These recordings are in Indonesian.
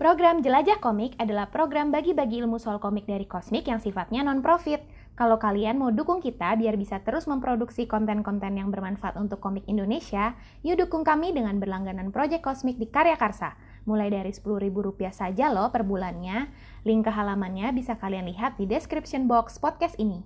Program Jelajah Komik adalah program bagi-bagi ilmu soal komik dari Kosmik yang sifatnya non-profit. Kalau kalian mau dukung kita biar bisa terus memproduksi konten-konten yang bermanfaat untuk komik Indonesia, yuk dukung kami dengan berlangganan Project Kosmik di Karya Karsa. Mulai dari Rp10.000 saja loh per bulannya. Link ke halamannya bisa kalian lihat di description box podcast ini.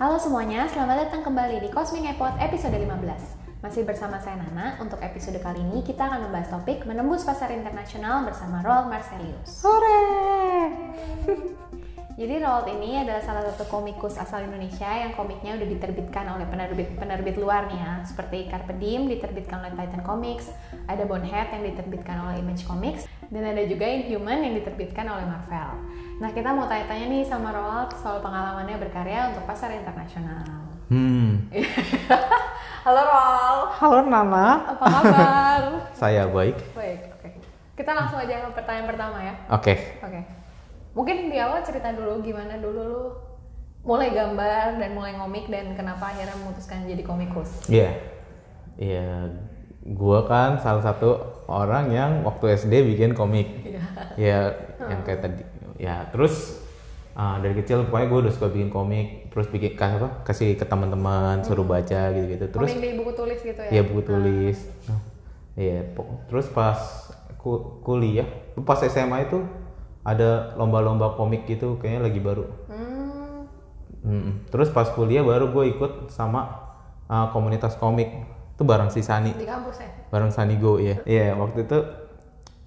Halo semuanya, selamat datang kembali di Cosmic Epot episode 15. Masih bersama saya Nana, untuk episode kali ini kita akan membahas topik menembus pasar internasional bersama Roald Marcelius. Hore! Jadi Roald ini adalah salah satu komikus asal Indonesia yang komiknya udah diterbitkan oleh penerbit-penerbit luar nih ya, seperti Carpe Diem diterbitkan oleh Titan Comics, ada Bonehead yang diterbitkan oleh Image Comics, dan ada juga Inhuman yang diterbitkan oleh Marvel. Nah, kita mau tanya-tanya nih sama Roald soal pengalamannya berkarya untuk pasar internasional. Hmm, Halo Roald, Halo Nana. apa kabar? saya baik. Baik, oke. Kita langsung aja ke pertanyaan pertama ya. Oke, Oke. Mungkin di awal cerita dulu gimana dulu lu mulai gambar dan mulai ngomik dan kenapa akhirnya memutuskan jadi komikus. iya. Iya, gua kan salah satu orang yang waktu SD bikin komik. Ya, yang kayak tadi. Ya, terus ah, dari kecil pokoknya gue udah suka bikin komik, terus bikin kas- apa? Kasih ke teman-teman, suruh baca gitu-gitu. Terus komik di buku tulis gitu ya. Iya buku tulis. Nah, Iya. po- Terus pas ku- kuliah, pas SMA itu ada lomba-lomba komik gitu, kayaknya lagi baru. Hmm. Mm-mm. Terus pas kuliah baru gue ikut sama uh, komunitas komik itu bareng si Sani, Di kampus ya. bareng Sanigo ya. Iya waktu itu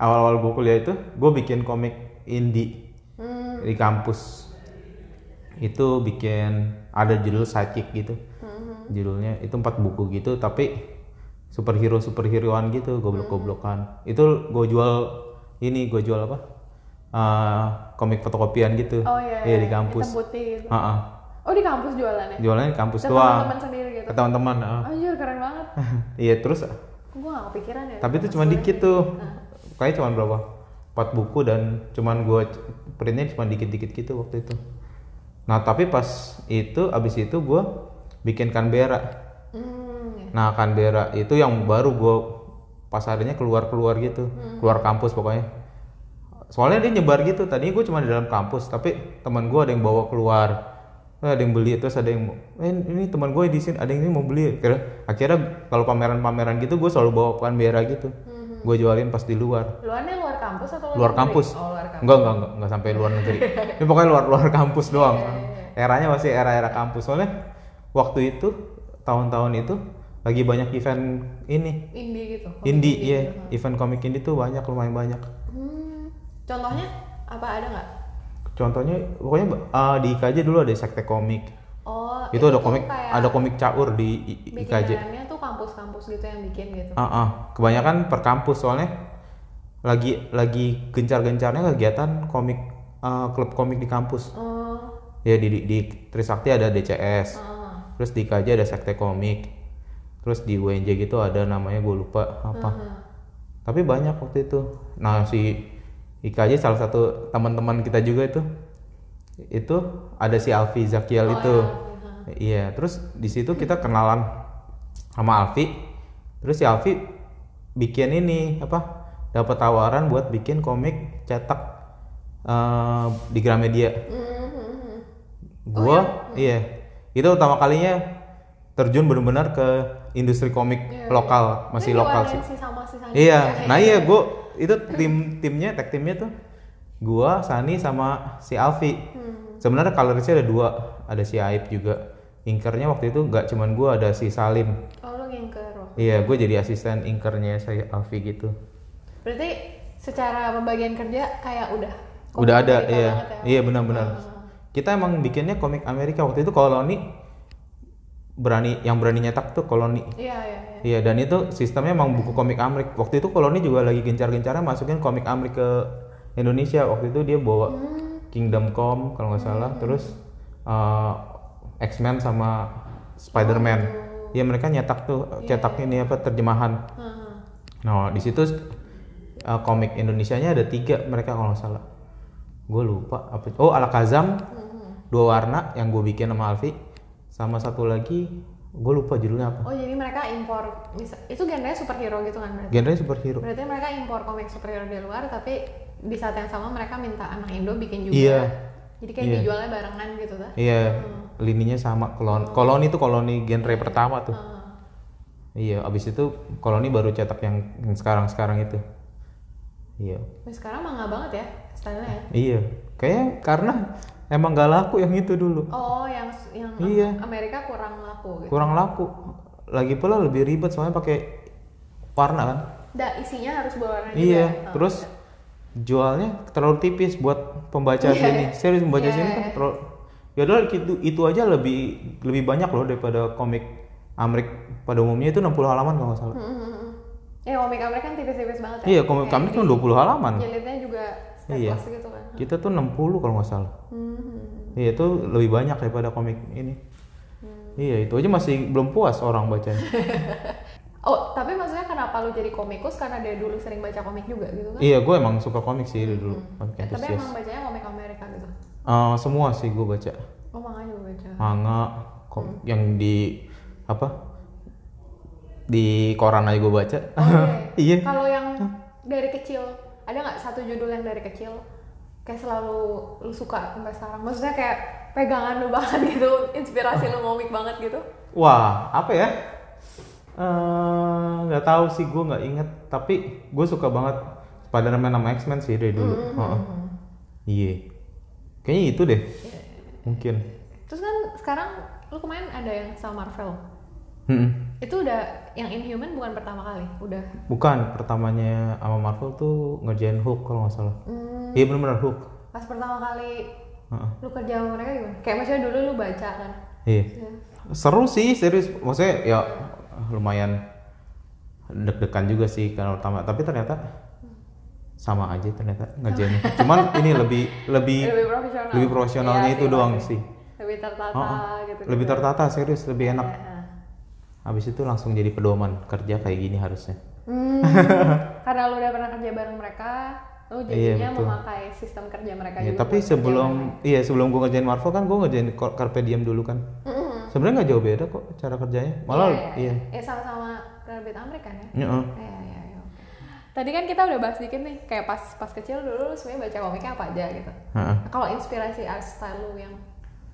awal-awal gue kuliah itu gue bikin komik indie Hmm. di kampus itu bikin ada judul Psychic gitu Hmm. judulnya itu empat buku gitu tapi superhero superheroan gitu goblok Hmm. goblokan itu gue jual ini gue jual apa Uh, komik fotokopian gitu Oh iya. Iya, di iya. kampus Hitam putih gitu. Heeh. Oh di kampus jualannya. jualannya di kampus Ke doang teman-teman sendiri gitu. ke teman-teman heeh. Anjir keren banget. iya terus Kok gue gak kepikiran ya. tapi itu cuma dikit tuh kayak cuma berapa empat buku dan cuman gua c- printnya cuma dikit-dikit gitu waktu itu nah tapi pas itu abis itu gua bikin kanbera Hmm. nah kanbera itu yang baru gua pasarnya keluar-keluar gitu Hmm. keluar kampus pokoknya soalnya dia nyebar gitu tadinya gue cuma di dalam kampus tapi teman gua ada yang bawa keluar Eh, ada yang beli terus ada yang eh, ini teman gue di sini ada yang ini mau beli akhirnya, akhirnya kalau pameran-pameran gitu gue selalu bawa kanbera gitu gue jualin pas di luar Luarnya luar kampus atau luar, luar negeri? kampus Mhm. Oh luar kampus. enggak enggak enggak, enggak sampai luar negeri ini pokoknya luar luar kampus doang Iya, eranya masih era era kampus soalnya waktu itu tahun-tahun itu lagi banyak event ini Indie gitu. komik indie ya event komik indie tuh banyak lumayan banyak Hmm. Contohnya apa ada nggak? contohnya pokoknya eh, di IKJ dulu ada sekte komik Oh itu ada tuh komik kayak ya? ada komik caur di I- I- IKJ bikinannya tuh kampus-kampus gitu yang bikin gitu. Ah, ah. kebanyakan per kampus soalnya lagi lagi gencar-gencarnya kegiatan komik eh, klub komik di kampus Oh, ya di, di, di Trisakti ada DCS ah. terus di KJ ada sekte komik terus di UNJ gitu ada namanya gue lupa apa tapi banyak waktu itu nah si IKJ salah satu teman-teman kita juga itu itu ada si Alfi Zakiel itu iya terus di situ kita kenalan sama Alfi terus si Alfi bikin ini apa dapat tawaran buat bikin komik cetak eh, di Gramedia Mhm. gua iya itu pertama kalinya terjun benar-benar ke industri komik lokal masih Ini lokal sih diwarnain sih sama si Sanji. iya nah iya gua itu tim timnya tag timnya tuh gua Sani sama si Alfi Hmm. sebenarnya colorisnya ada dua ada si Aib juga inkernya waktu itu nggak cuman gua ada si Salim Oh, lu ngingker. Rob. iya gua jadi asisten inkernya si Alfi gitu Berarti secara pembagian kerja kayak udah udah ada komik iya banget ya. iya benar-benar kita emang bikinnya komik Amerika waktu itu koloni berani yang berani nyetak tuh koloni Iya, iya, iya. Iya dan itu sistemnya emang buku komik Amrik. Waktu itu Koloni juga lagi gencar-gencarnya masukin komik Amrik ke Indonesia. Waktu itu dia bawa Kingdom Come kalau nggak salah, terus eh, X-Men sama Spider-Man. Iya mereka nyetak tuh cetaknya ini apa terjemahan. Heeh. Nah di situ eh, komik Indonesianya ada tiga mereka kalau nggak salah. Gue lupa apa. Oh Alakazam dua warna yang gue bikin sama Alfi sama satu lagi gue lupa judulnya apa Oh jadi mereka impor misa- itu genrenya superhero gitu kan berarti? genre superhero Berarti mereka impor komik superhero dari luar tapi di saat yang sama mereka minta anak Indo bikin juga. Iya. Jadi kayak Iya. dijualnya barengan gitu lah. iya lininya sama kolon koloni itu koloni genre pertama tuh iya abis itu koloni baru cetak yang yang sekarang sekarang itu iya Tapi sekarang manga banget ya stylenya. ya. iya kayaknya karena emang gak laku yang itu dulu Oh yang yang Iya. Amerika kurang laku. Gitu. kurang laku lagi pula lebih ribet soalnya pakai warna kan Da isinya harus berwarna juga. iya Oh. terus jualnya terlalu tipis buat pembaca Iya. sini serius pembaca Iya, sini iya, kan iya. terlalu ya udah itu itu aja lebih lebih banyak loh daripada komik Amrik pada umumnya itu 60 halaman kalau nggak salah Hmm, hmm, hmm. Eh komik Amerika kan tipis-tipis banget ya. iya komik Kayak kami cuma 20 halaman Jilidnya juga Iya. staples gitu kan. kita tuh 60 kalau nggak salah Hmm, hmm. iya itu lebih banyak daripada komik ini Hmm. iya itu aja masih belum puas orang bacanya Oh, tapi maksudnya kenapa lu jadi komikus? Karena dari dulu sering baca komik juga gitu kan? iya gitu gue emang suka komik sih dari dulu komik Eh, tapi antusias emang bacanya komik Amerika gitu? Eh, semua sih gue baca Oh, manga juga baca. manga kom- Hmm. yang di apa di koran aja gue baca Oh, iya Kalau yang dari kecil, ada nggak satu judul yang dari kecil kayak selalu lu suka sampai sekarang? Maksudnya kayak pegangan lu banget gitu, inspirasi lu komik banget gitu? wah apa ya Eh, nggak tahu sih gue nggak inget tapi gue suka banget Spider-Man sama X-Men sih dari dulu Heeh. iya kayaknya itu deh mungkin Terus kan sekarang lu kemarin ada yang sama Marvel. Mm-mm. Itu udah yang Inhuman bukan pertama kali, udah. bukan pertamanya sama Marvel tuh ngerjain Hulk kalau nggak salah Hmm, iya bener-bener Hulk pas pertama kali Heeh. lu kerja sama mereka gimana? Kayak maksudnya dulu lu baca kan? iya Ya. seru sih serius maksudnya ya lumayan deg-degan juga sih karena pertama tapi ternyata sama aja ternyata ngerjainnya cuman ini lebih lebih lebih profesional lebih profesionalnya Iya itu doang pasti. sih lebih tertata Oh, oh. gitu lebih tertata serius lebih enak Iya. habis itu langsung jadi pedoman kerja kayak gini harusnya Hmm, karena lu udah pernah kerja bareng mereka lu jadinya Iya, betul. memakai sistem kerja mereka ya, juga tapi buat sebelum iya sebelum gue ngerjain Marvel kan gue ngerjain Cor- Carpe Diem dulu kan kerja. Mm-mm. sebenarnya nggak jauh beda kok cara kerjanya malah iya iya ya sama-sama penerbit Amerika kan ya Iya. iya iya iya oke. tadi kan kita udah bahas dikit nih kayak pas pas kecil dulu lu sebenarnya baca komiknya apa aja gitu Heeh. kalau inspirasi art style lu yang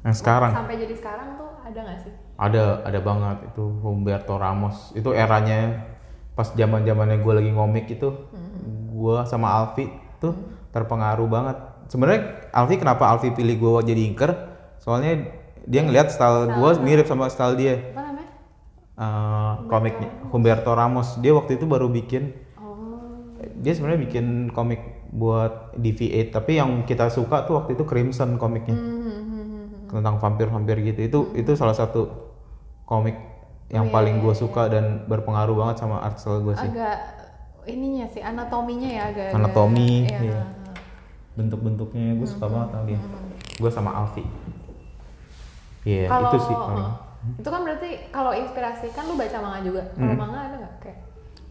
yang sekarang sampai jadi sekarang tuh ada nggak sih ada ada banget itu Humberto Ramos itu eranya pas zaman zamannya gue lagi ngomik itu gua sama Alfi tuh terpengaruh banget sebenarnya Alfi kenapa Alfi pilih gue jadi inker soalnya dia ngeliat style gue mirip sama style dia apa namanya Eh, komiknya Humberto Ramos dia waktu itu baru bikin oh dia sebenarnya bikin komik buat DV8 tapi yang kita suka tuh waktu itu Crimson komiknya tentang vampir-vampir gitu itu Hmm. itu salah satu komik yang Oh, iya, paling gue suka dan berpengaruh banget sama art style gue sih agak ininya sih anatominya ya agak Anatomi, agak- iya. bentuk-bentuknya gue Hmm, suka banget sama dia gue sama Alfi iya kalau itu sih paling itu kan berarti kalau inspirasi kan lu baca manga juga Hmm. kalau manga ada nggak kayak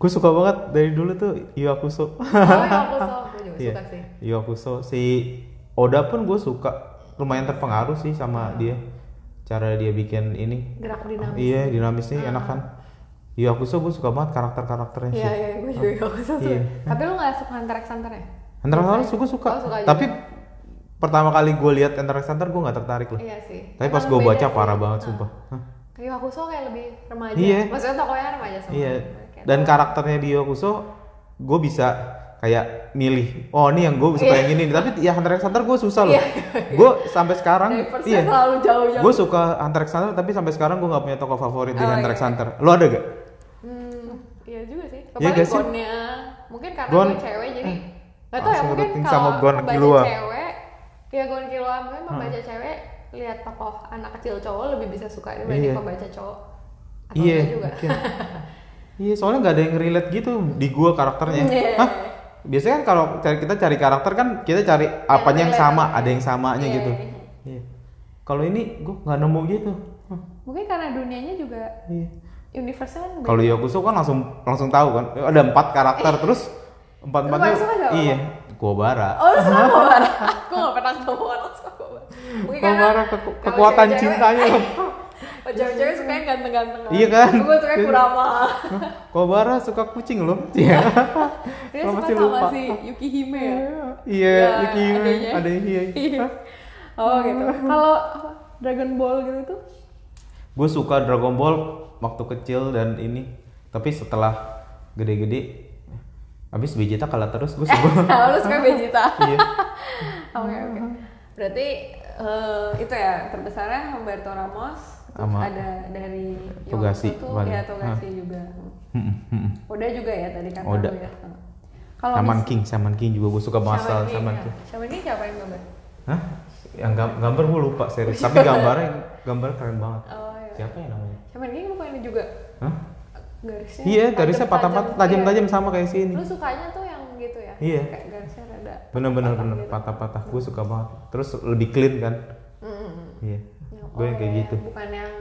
gue suka banget dari dulu tuh Iwakuso oh ya aku suka aku juga Iya. suka sih Iwakuso si Oda pun gue suka lumayan terpengaruh sih sama dia cara dia bikin ini gerak Hmm. dinamis Ah, iya dinamisnya enak kan Iwakuso gue suka banget karakter-karakternya iya sih iya gue juga aku suka Iya. tapi lu nggak suka hunter x hunter ya Hunter x Hunter suka suka. Oh, suka juga. Tapi pertama kali gue lihat Hunter x Hunter gue nggak tertarik loh. iya sih Tapi pas Emang gue beda baca sih. parah banget Nah. sumpah. Hah, kayak aku suka kayak lebih remaja Iya. maksudnya tokonya remaja semua Iya. Kayak Dan karakternya di Yokuso gue bisa kayak milih. Oh ini yang gue suka Iya. yang ini. Tapi ya Hunter x Hunter gue susah loh. Gue sampai sekarang dari persen iya. terlalu jauh-jauh Gue suka Hunter x Hunter tapi sampai sekarang gue nggak punya tokoh favorit di Oh, Hunter iya. x Hunter. Lo ada gak? Hmm, iya juga sih. Iya Apalagi gak sih? gonnya, mungkin karena Gon- gue cewek jadi eh, nggak tahu ya langsung mungkin rutin kalau sama Hmm. gon pembaca kilua. cewek, ya gon kilua mungkin pembaca cewek lihat tokoh anak kecil cowok lebih bisa suka dibanding Iya. pembaca cowok. Atau Iya. enggak juga. mungkin. Iya, soalnya nggak ada yang relate gitu di gua karakternya. Iya. Hah? Biasanya kan kalau cari kita cari karakter kan kita cari apanya yang relate. sama, ada yang samanya Iya, gitu. iya. Iya. Kalau ini gua nggak nemu gitu. Hah, Mungkin karena dunianya juga Iya. universe kan beda. Kalau Yakuso kan langsung langsung tahu kan ada empat karakter terus empat empatnya Iya. Lu paling suka siapa? iya Kuwabara. Oh, lu suka Gobara? Aku nggak pernah ketemu orang suka Gobara. Mungkin Gobara keku- kekuatan cintanya. Oh, cewek-cewek suka yang ganteng-ganteng. Iya kan? Gue suka yang Kurama. Kobara suka kucing loh. Iya. Dia Lo suka pasti sama lupa. si Yukihime ya. Iya, Ya, Iki Yumi, adanya. ada Hiei. Oh gitu. Kalau apa, Dragon Ball gitu tuh Gue suka Dragon Ball waktu kecil dan ini, tapi setelah gede-gede, abis Vegeta kalah terus gue suka. Kalau lu suka Vegeta. Iya. Oke oke. Berarti eh, itu ya terbesarnya Humberto Ramos. Terus Sama ada dari Togashi Yonko tuh, paling. ya Togashi juga. Mm, mm. Oda juga ya tadi kata Oda. lu ya. Kalau Shaman mis- King, Shaman King juga gue suka Shaman masal King, Shaman ya. King. Shaman King siapa yang gambar? Hah? Yang gam- gambar gue lupa serius, tapi gambarnya gambar keren banget. Oh iya. Siapa ya namanya? Shaman King bukannya juga Hah? garisnya? Iya, garisnya tajam-tajam. patah-patah, Iya. tajam-tajam sama kayak sini. Lu sukanya tuh yang gitu ya? Iya. Kayak garisnya rada. Bener-bener patah bener gitu. patah-patah, gue suka banget. Terus lebih clean kan? Mm-mm. Iya. Yang- Gue yang oh, kayak iya, gitu. Bukan yang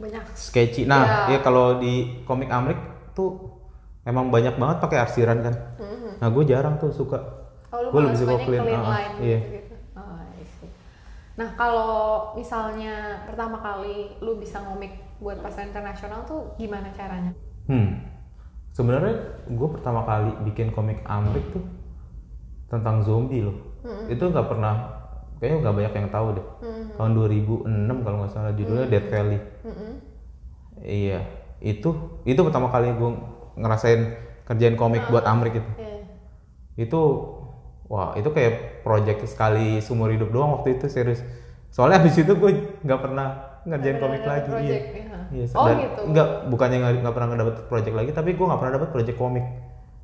banyak. sketchy. Nah, Ya. ya kalau di komik Amrik tuh emang banyak banget pakai arsiran kan. Mm-mm. Nah, gue jarang tuh suka. Mm-hmm. Kalau lu Gua malah sukanya ah, clean, ah, line iya. gitu-gitu. Oh, I see. Nah, kalau misalnya pertama kali lu bisa ngomik buat pasar internasional tuh gimana caranya? Hmm. Sebenarnya gue pertama kali bikin komik Amrik tuh tentang zombie loh. Mm-hmm. Itu nggak pernah kayaknya nggak banyak yang tahu deh. Mm-mm. Tahun 2006 kalau nggak salah judulnya Dead Mm-hmm. Valley. Mm-mm. Iya, itu itu pertama kali gue ngerasain kerjain komik buat Amrik itu. Iya. itu wah itu kayak project sekali seumur hidup doang waktu itu serius soalnya habis itu gue nggak pernah ngerjain Nggak komik pernah lagi dapet iya project, ya. Iya, Oh, dan gitu. nggak bukannya nggak nggak pernah dapet project lagi tapi gue nggak pernah dapet project komik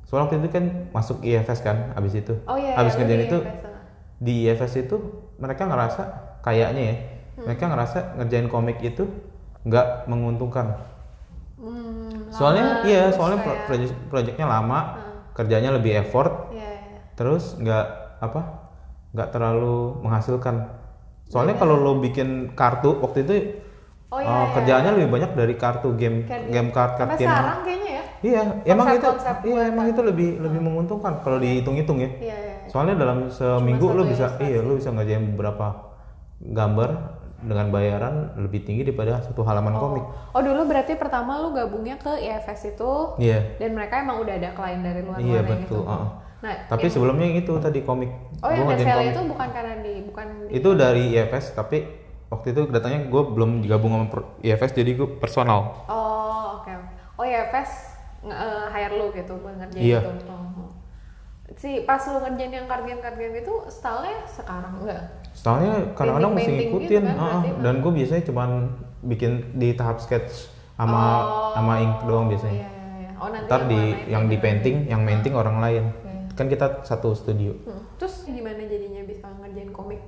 soalnya waktu itu kan masuk IFS kan abis itu Oh iya, abis iya, ngerjain iya, itu iya, biasa. di IFS itu mereka ngerasa kayaknya ya Hmm. mereka ngerasa ngerjain komik itu nggak menguntungkan Hmm, soalnya lama, ya. Hmm. iya terus soalnya pro- kayak- project- projectnya lama kerjanya lebih effort Iya, iya. terus nggak apa nggak terlalu menghasilkan soalnya kalau lo bikin kartu waktu itu Iya. Oh, iya, eh, iya. kerjaannya lebih banyak dari kartu game Kayak di- game card card Sampai game sekarang kayaknya ya? iya emang itu konsep iya emang itu lebih lebih menguntungkan kalau dihitung-hitung ya Iya, iya. soalnya dalam seminggu lo satu bisa iya lo bisa ngerjain beberapa gambar dengan bayaran lebih tinggi daripada satu halaman komik Oh dulu berarti pertama lu gabungnya ke IFS itu iya dan mereka emang udah ada klien dari luar Iya, luar betul, gitu. ah. Nah, tapi yang- sebelumnya itu tadi komik oh yang Gua ngerjain DSL komik. Iya. itu bukan karena di bukan di itu dari IFS tapi waktu itu datangnya gue belum gabung sama per- IFS jadi gue personal Oh, oke. oke. Oh ya, Fes nge- eh, hire lu gitu buat ngerjain Iya. itu. Oh. Si pas lu ngerjain yang kardian-kardian itu style sekarang enggak? soalnya kadang-kadang mesti Painting-painting ngikutin gitu kan, ah, berarti, dan gue biasanya cuman bikin di tahap sketch sama sama ink doang biasanya Oh, Iya, iya, iya. Oh, nanti ntar yang di warnain yang di gitu. painting yang painting orang lain Iya. kan kita satu studio Hmm. Terus gimana jadinya bisa ngerjain komik?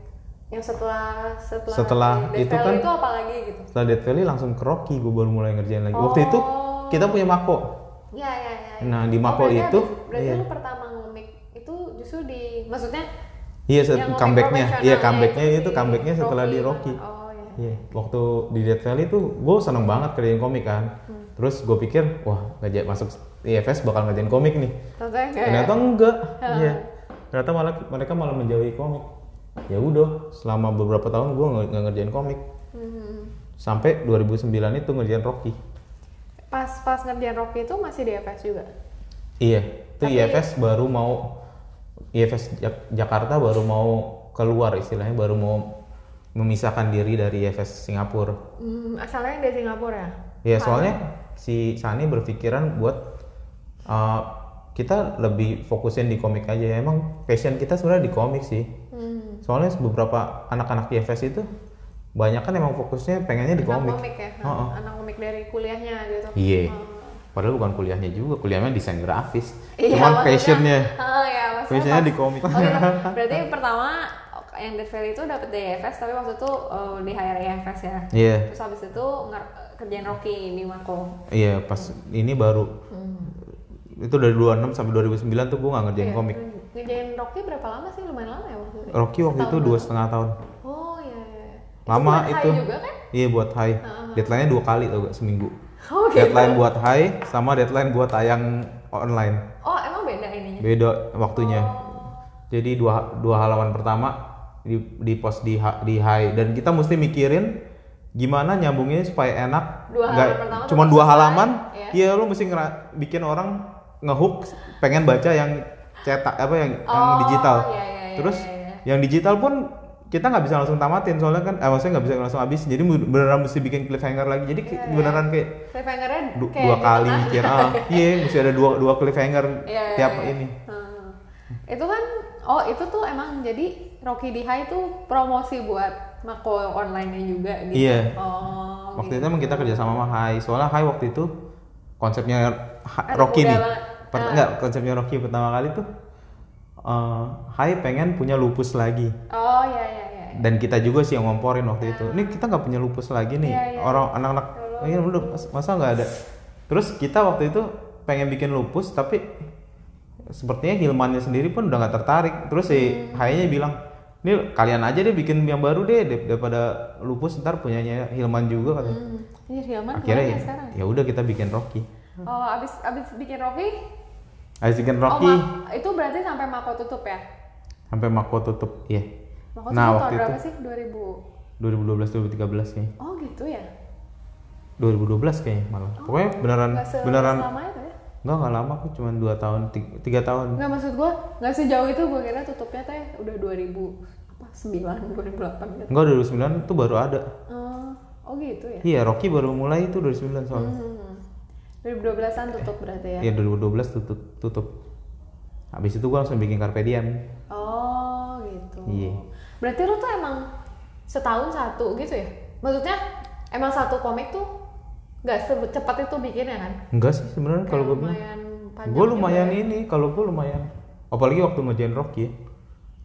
Yang setelah setelah Setelah di itu DSL kan- itu apa lagi gitu? setelah Dead Valley langsung ke Rocky gue baru mulai ngerjain lagi waktu itu Oh. kita punya Mako Iya, iya, iya. iya. Nah, di Oh, Mako berarti itu- habis- berarti iya. lu pertama ngomik itu justru di maksudnya iya set- yang ngomik comebacknya profesionalnya iya comebacknya itu di comebacknya setelah di Rocky banget. Oh, iya. Iya, waktu di Dead Valley tuh gue seneng banget kerjain komik kan. Hmm. Terus gue pikir, wah ngajak masuk IFS bakal ngerjain komik nih. Contohnya kayak Ternyata enggak. Iya. Ternyata malah mereka malah menjauhi komik. Ya udah, selama beberapa tahun gue nggak ngerjain komik. Hmm. Sampai 2009 itu ngerjain Rocky. pas pas ngerjain Rocky itu masih di FS juga. Iya, itu Tapi- IFS baru mau IFS Jak- Jakarta baru mau keluar istilahnya baru mau memisahkan diri dari IFS Singapura. Hmm, asalnya dari Singapura ya. Ya soalnya si Sani berpikiran buat uh, kita lebih fokusin di komik aja. ya. Emang passion kita sebenarnya di komik sih. Hmm. Soalnya beberapa anak-anak IFS itu banyak kan emang fokusnya pengennya di Anak komik. komik ya, Heeh. anak komik dari kuliahnya gitu. Iya. Oh. Padahal bukan kuliahnya juga, kuliahnya desain grafis. Iya, Cuman maksudnya- passionnya. Ah, iya, maksudnya Passionnya pas- di komik. Oh, iya. Berarti pertama oh, yang Dead Valley itu dapet di EFS tapi waktu itu eh, di hire EFS ya. Iya, Terus habis itu nger- kerjaan Rocky di Mako. iya pas ini baru. Hmm. Itu dari 26 sampai 2009 tuh gue gak Iya. ngerjain komik. Ngerjain Rocky berapa lama sih? Lumayan lama ya waktu itu. Rocky waktu itu dua setengah tahun. Oh iya. iya. Lama buat high itu. juga kan? ah. Iya buat high. Deadline-nya dua kali tau gak seminggu. Oh, gitu. Deadline buat high sama deadline buat tayang online. Oh emang beda ininya. Beda waktunya. Oh. Jadi dua dua halaman pertama di di post di ha- di high dan kita mesti mikirin gimana nyambungnya supaya enak Dua halaman nggak pertama cuma tetap dua selesai, halaman ya. iya lu mesti ngera- bikin orang ngehook pengen baca yang cetak apa yang yang Oh, digital iya, iya, iya, terus iya, iya. yang digital pun kita nggak bisa langsung tamatin soalnya kan eh, maksudnya nggak bisa langsung habis jadi beneran mesti bikin cliffhanger lagi jadi Iya, beneran kayak cliffhangernya du- kayak gitu? dua di kali tengah. mikir ah iya mesti ada dua dua cliffhanger Iya, iya, tiap iya. ini Hmm. itu kan oh itu tuh emang jadi Rocky di High tuh promosi buat Mako online-nya juga gitu Iya. oh waktu gitu. itu emang kita kerja sama sama Hai soalnya Hai waktu itu konsepnya Ha- Anak Rocky muda nih banget. Per- Ah. enggak konsepnya Rocky pertama kali tuh eh, Hai pengen punya lupus lagi oh iya iya iya dan kita juga sih yang ngomporin waktu itu ini kita nggak punya lupus lagi nih Ah. Iya, iya. orang anak-anak ini udah mas- masa nggak ada terus kita waktu itu pengen bikin lupus tapi sepertinya Hilmannya sendiri pun udah nggak tertarik terus si Hmm. Hai-nya bilang ini kalian aja deh bikin yang baru deh dar- daripada lupus ntar punyanya Hilman juga katanya hmm. ini Hilman akhirnya kemana ya, sekarang ya udah kita bikin Rocky oh abis abis bikin Rocky habis bikin Rocky oh Ma- itu berarti sampai Mako tutup ya sampai Mako tutup iya Mako nah tutup waktu tahun itu berapa sih 2012 2000 2013 kayaknya oh gitu ya 2012 kayaknya malah pokoknya beneran Oh, nggak se- beneran selama itu ya Enggak, enggak lama kok, cuma 2 tahun, 3 tahun. nggak maksud gua nggak sejauh itu gua kira tutupnya teh udah 2000 apa 9 2008 gitu Enggak, 2009 tuh baru ada. oh, oh gitu ya Iya, Rocky baru mulai itu 2009 soalnya. Hmm. 2012-an tutup berarti Iya, ya? 2012 tutup tutup. Habis itu gua langsung bikin Carpe Diem. Oh gitu. Iya. Berarti lu tuh emang setahun satu gitu ya? Maksudnya emang satu komik tuh nggak secepat itu bikinnya kan? Enggak sih sebenarnya kalau gua bilang. lumayan panjang. Gua lumayan juga ya. ini, kalau gua lumayan. Apalagi waktu ngerjain Rocky ya.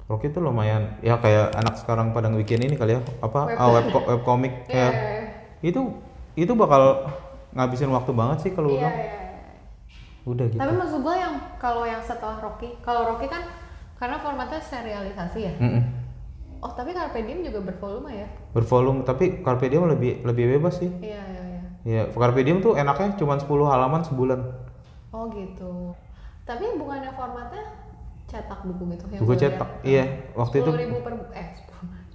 Rocky tuh lumayan ya kayak anak sekarang pada bikin ini kali ya apa Web- ah, web web komik Iya, kayak itu itu bakal ngabisin waktu banget sih kalau Iya, gua iya, bilang. iya. udah gitu. Tapi maksud gua yang kalau yang setelah Rocky, kalau Rocky kan karena formatnya serialisasi ya. Mm-mm. Oh tapi Carpe Diem juga bervolume ya? Bervolume tapi Carpe Diem lebih lebih bebas sih. Iya iya iya. Ya, Carpe Diem tuh enaknya cuma 10 halaman sebulan. Oh gitu. Tapi bukannya formatnya cetak buku gitu? Buku cetak. Iya, waktu itu ribu per eh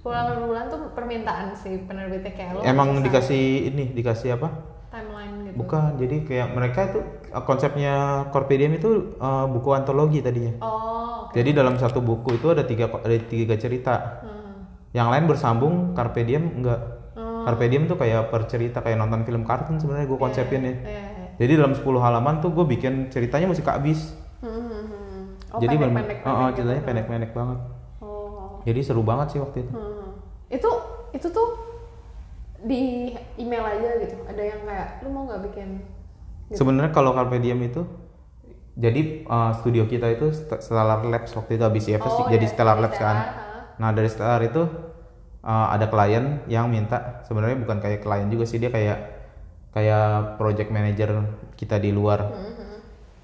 10 per bulan tuh permintaan si penerbitnya kayak lo emang harus dikasih ini, dikasih apa? asal timeline gitu. Bukan, jadi kayak mereka itu eh, konsepnya Carpe Diem itu eh, buku antologi tadinya. Oh, oke. Jadi dalam satu buku itu ada tiga ada tiga cerita. Hmm. Yang lain bersambung, Carpe Diem enggak. Carpe Diem tuh kayak per cerita kayak nonton film kartun sebenarnya gue konsepin ya. Oh. Iya, iya. Jadi dalam 10 halaman tuh gue bikin ceritanya mesti habis. Hmm, hmm, hmm. Oh, jadi bener- pendek-pendek. Oh, oh, pendek ceritanya gitu. pendek-pendek banget. Oh. Jadi seru banget sih waktu itu. Hmm. Itu itu tuh di email aja gitu. Ada yang kayak lu mau nggak bikin Gitu. Sebenarnya kalau Carpe Diem itu jadi uh, studio kita itu St- Stellar Labs waktu itu habis IFS Oh, jadi iya, Stellar jadi Labs kan. Stellar, Nah, dari Stellar itu uh, ada klien yang minta sebenarnya bukan kayak klien juga sih dia kayak kayak project manager kita di luar.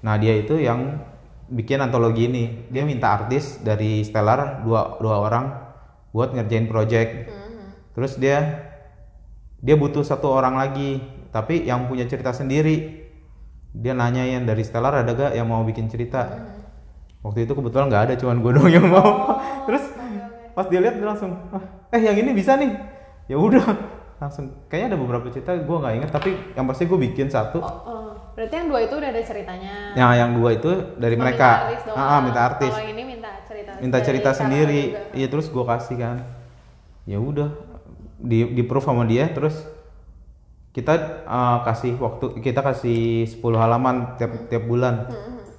Nah, dia itu yang bikin antologi ini. Dia minta artis dari Stellar dua dua orang buat ngerjain project. Terus dia dia butuh satu orang lagi tapi yang punya cerita sendiri dia nanyain dari Stellar ada gak yang mau bikin cerita waktu itu kebetulan nggak ada cuman gue doang yang mau terus pas dia lihat dia langsung "Ah, eh yang ini bisa nih ya udah langsung kayaknya ada beberapa cerita gue nggak inget tapi yang pasti gue bikin satu Oh, oh. berarti yang dua itu udah ada ceritanya. yang Nah, yang dua itu dari Cuma mereka Oh, minta artis doang. Ah, ah, minta artis Kalau ini minta cerita. minta dari cerita Sarah juga. sendiri iya terus gue kasih kan ya udah di di proof sama dia terus kita eh, kasih waktu kita kasih 10 halaman Hmm. tiap tiap bulan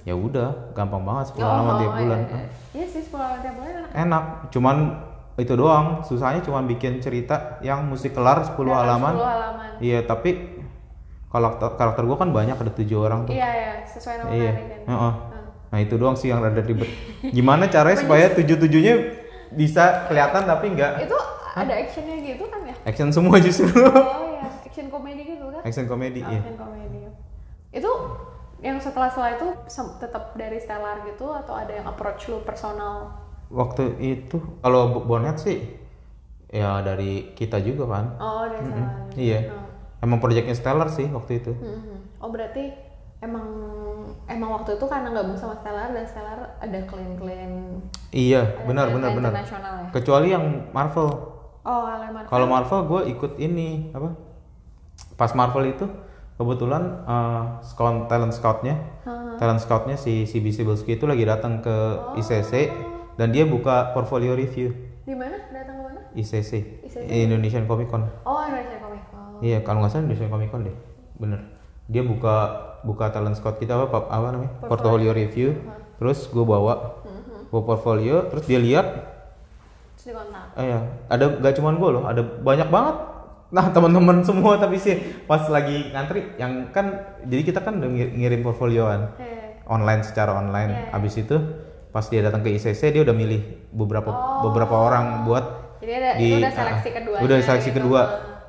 ya udah gampang banget 10 halaman tiap iya, ya, bulan Iya, Iya sih 10 halaman tiap bulan enak. enak cuman itu doang susahnya cuman bikin cerita yang mesti kelar 10 Dalam halaman 10 halaman. iya tapi karakter karakter gue kan banyak ada tujuh orang tuh Iya ya, sesuai nama Iya. hari kan. Heeh. Nah itu doang sih yang rada ribet. Gimana caranya supaya tujuh tujuhnya bisa kelihatan tapi nggak Itu ada actionnya gitu kan ya? action semua justru. Oh iya, action komedi gitu kan? action komedi ya. Action komedi. Itu yang setelah-setelah itu sem- tetap dari stellar gitu atau ada yang approach lu personal? Waktu itu kalau bo- bonet sih ya dari kita juga kan. Oh, dari stellar. Iya. Emang proyeknya Stellar sih waktu itu. Mhm. Oh berarti emang emang waktu itu karena gabung sama Stellar dan Stellar ada klien-klien Iya, benar klien-klien benar benar. internasional ya. Kecuali yang Marvel. Oh, Aleman. Kalau Marvel gue ikut ini apa? Pas Marvel itu kebetulan eh, scout- talent scoutnya, talent scoutnya si CBC Bilski itu lagi datang ke ICC dan dia buka portfolio review Di mana? Datang ke mana? ICC, ICC? eh, Indonesian Comic Con. Oh, Indonesia Comic Con. Iya kalau nggak salah Indonesian Comic Con deh, bener. Dia buka buka talent scout kita apa apa namanya portfolio, review, terus gue bawa gue portfolio, terus dia lihat Terus dikontak. Ah, iya. ada gak cuman gue loh, ada banyak banget. Nah teman-teman semua tapi sih pas lagi ngantri, yang kan jadi kita kan udah ngir- ngirim portfolioan Eh, online secara online. Iya. Abis itu pas dia datang ke ICC dia udah milih beberapa beberapa orang buat jadi ada di itu Oh. udah seleksi ah, kedua. gitu. Udah seleksi kedua.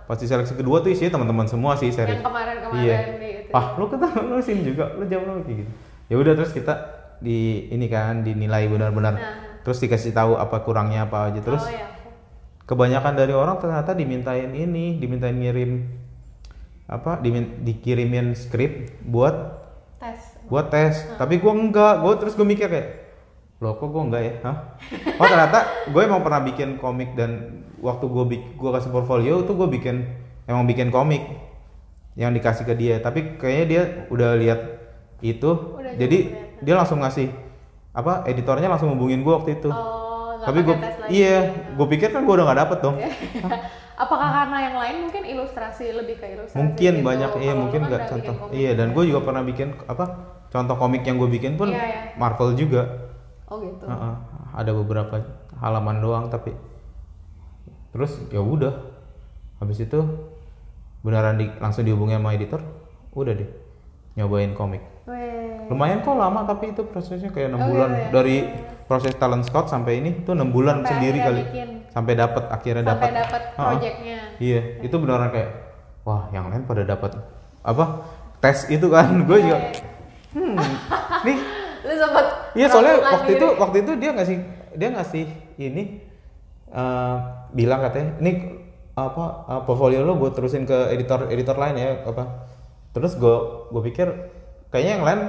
Pas di seleksi kedua tuh isinya teman-teman semua sih serius. Yang kemarin-kemarin Iya. di itu. Ah, lu ketemu lu sini juga, lu jawab lu kayak gitu. Ya udah terus kita di ini kan dinilai benar-benar. Terus dikasih tahu apa kurangnya apa aja terus Nah. Oh, iya. kebanyakan dari orang ternyata dimintain ini dimintain ngirim apa dimin- dikirimin skrip buat Tes. buat tes tapi gua enggak gua terus gue mikir kayak loh kok gue enggak ya Hah? oh ternyata gue emang pernah bikin komik dan waktu gue gua kasih portfolio tuh gue bikin emang bikin komik yang dikasih ke dia tapi kayaknya dia udah lihat itu Udah jadi jago kelihatan. dia langsung ngasih apa editornya langsung hubungin gue waktu itu Oh, nggak tapi pakai gue tes lagi. iya gue pikir kan gue udah nggak dapet dong Apakah karena yang lain mungkin ilustrasi lebih ke ilustrasi? mungkin gitu. banyak iya Kalau lu mungkin kan nggak udah bikin contoh komik. iya dan gue juga pernah bikin apa contoh komik yang gue bikin pun Iya, iya. Marvel juga Oh gitu. Heeh, ada beberapa halaman doang tapi terus ya udah habis itu beneran di, langsung dihubungi sama editor udah deh nyobain komik Weh. lumayan kok lama tapi itu prosesnya kayak enam Iya. Oh, bulan iya, iya. dari proses talent scout sampai ini tuh enam bulan Sampai sendiri akhirnya kali bikin. sampai dapat akhirnya dapat Sampai dapat projectnya. Iya, itu beneran kayak wah yang lain pada dapat apa tes itu kan gue juga hmm nih Lu sempet iya soalnya meragukan waktu kan diri. itu waktu itu dia ngasih dia ngasih ini eh, bilang katanya ini apa eh, portfolio lo gue terusin ke editor editor lain ya apa terus gue gue pikir kayaknya yang lain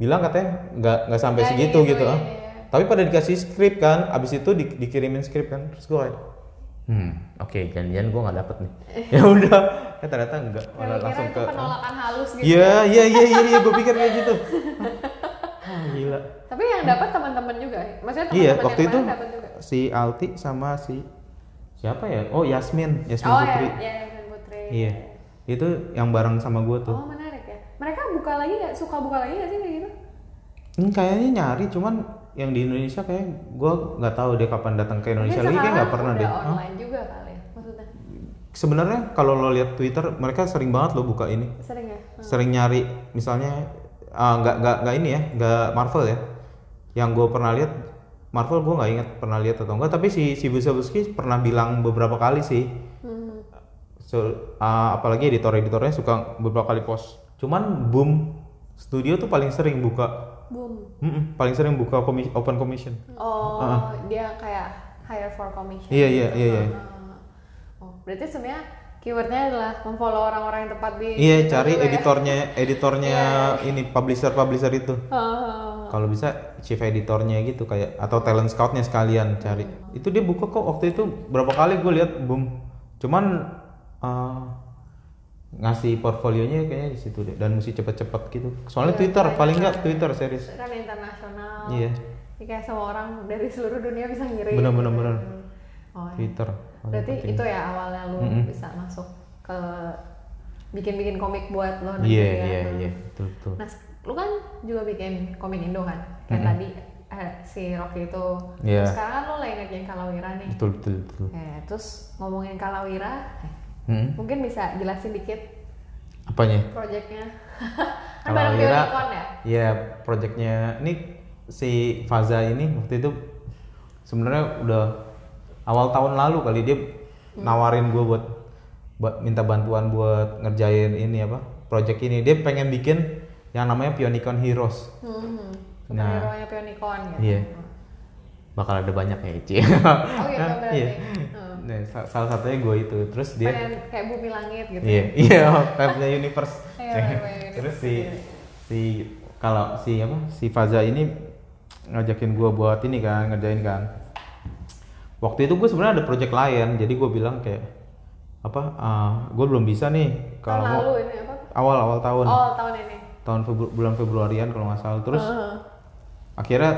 bilang katanya nggak nggak sampai Nah, segitu gitu, gitu iya, ah. iya. tapi pada dikasih skrip kan abis itu di- dikirimin skrip kan terus gue kayak hmm oke janjian gue nggak dapet nih ya udah ya ternyata enggak Gua malah kira langsung itu ke penolakan halus gitu. iya iya iya iya iya gue pikir kayak gitu ah, gila Tapi yang dapat teman-teman juga. ya? Maksudnya teman-teman iya yang waktu itu lain dapat juga. si Alti sama si siapa ya oh Yasmin Yasmin Oh ya, Putri ya Yasmin Putri. iya itu yang bareng sama gue tuh Oh menarik ya. Mereka buka lagi nggak? Suka buka lagi nggak sih kayak gitu? Hmm, kayaknya nyari cuman yang di Indonesia kayak gue nggak tahu dia kapan datang ke Mungkin Indonesia lagi kayak nggak sekarang pernah udah deh Hah? Online juga kali. ya, Maksudnya sebenarnya kalau lo lihat Twitter mereka sering banget lo buka ini sering ya. sering nyari misalnya ah, nggak nggak nggak ini ya nggak Marvel ya yang gue pernah lihat Marvel gue nggak ingat pernah lihat atau enggak tapi si si Busabuski pernah bilang beberapa kali sih Hmm. So, ah, apalagi editor-editornya suka beberapa kali post cuman boom studio tuh paling sering buka Boom. Mm-mm, paling sering buka komi- open commission Oh dia kayak hire for commission. Ah. iya iya iya iya Ah. Oh berarti sebenarnya keywordnya adalah memfollow orang-orang yang tepat di. iya Twitter cari juga ya. Iya, editornya editornya ini publisher publisher itu Ah. kalau bisa chief editornya gitu kayak atau talent scoutnya sekalian cari itu dia buka kok waktu itu berapa kali gue lihat boom cuman eh, ngasih portfolionya kayaknya di situ deh dan mesti cepet-cepet gitu Iya, soalnya twitter paling nggak twitter series kan internasional. iya Jadi kayak semua orang dari seluruh dunia bisa ngirim. bener bener bener Oh, ya. twitter paling Berarti Gitu. penting. itu ya awalnya lu bisa masuk ke bikin-bikin komik buat lo iya iya iya betul betul ya, Nah, lu kan juga bikin komik Indo kan? Kayak tadi eh, si Rocky itu. Iya. Terus Sekarang kan lu lagi ngerjain Kalawira nih. betul betul betul Eh, terus ngomongin Kalawira, eh, Mm-mm. mungkin bisa jelasin dikit apanya projectnya. kan Kalau bareng Ira, Unicorn ya? Iya, projectnya ini si Faza ini waktu itu sebenarnya udah awal tahun lalu kali dia Hmm. nawarin gue buat, buat minta bantuan buat ngerjain ini apa project ini dia pengen bikin yang namanya Pionicon Heroes Hmm. Nah. Superhero nya Unicorn gitu. Iya. bakal ada banyak ya Ci Oh gitu berarti. Iya. Hmm. Nah, sa- salah satunya gue itu terus dia Pengen kayak bumi langit gitu. Iya, iya, kayak punya universe. Iya, kayak punya universe Terus si si kalau si apa si Faza ini ngajakin gua buat ini kan ngerjain kan. waktu itu gue sebenarnya ada project lain jadi gue bilang kayak apa ah, gue belum bisa nih Tahun kalau mau Hmm. lalu ini apa? awal awal tahun Oh, tahun ini. tahun Febru- bulan Februarian kalau nggak salah terus Heeh. akhirnya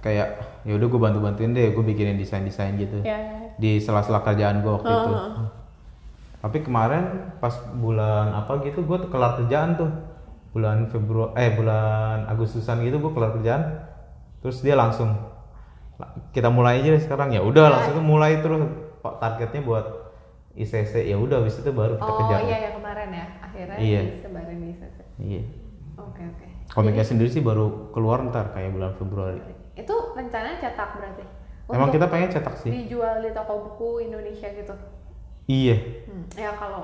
kayak ya udah gue bantu bantuin deh gue bikinin desain desain gitu Ya, ya. di sela-sela kerjaan gue waktu itu tapi kemarin pas bulan apa gitu gue kelar kerjaan tuh bulan Februari eh bulan Agustusan gitu gue kelar kerjaan terus dia langsung "La- kita mulai aja deh sekarang ya udah langsung tuh mulai terus Pak, targetnya buat ICC ya udah habis itu baru kita Oh, kejar iya ya kemarin ya. Akhirnya Iya. disebarin di sosial. iya Oke, oke. komiknya sendiri sih baru keluar ntar kayak bulan Februari Itu rencananya cetak berarti. emang Untuk kita pengen cetak sih dijual di toko buku Indonesia gitu. iya Hmm, ya kalau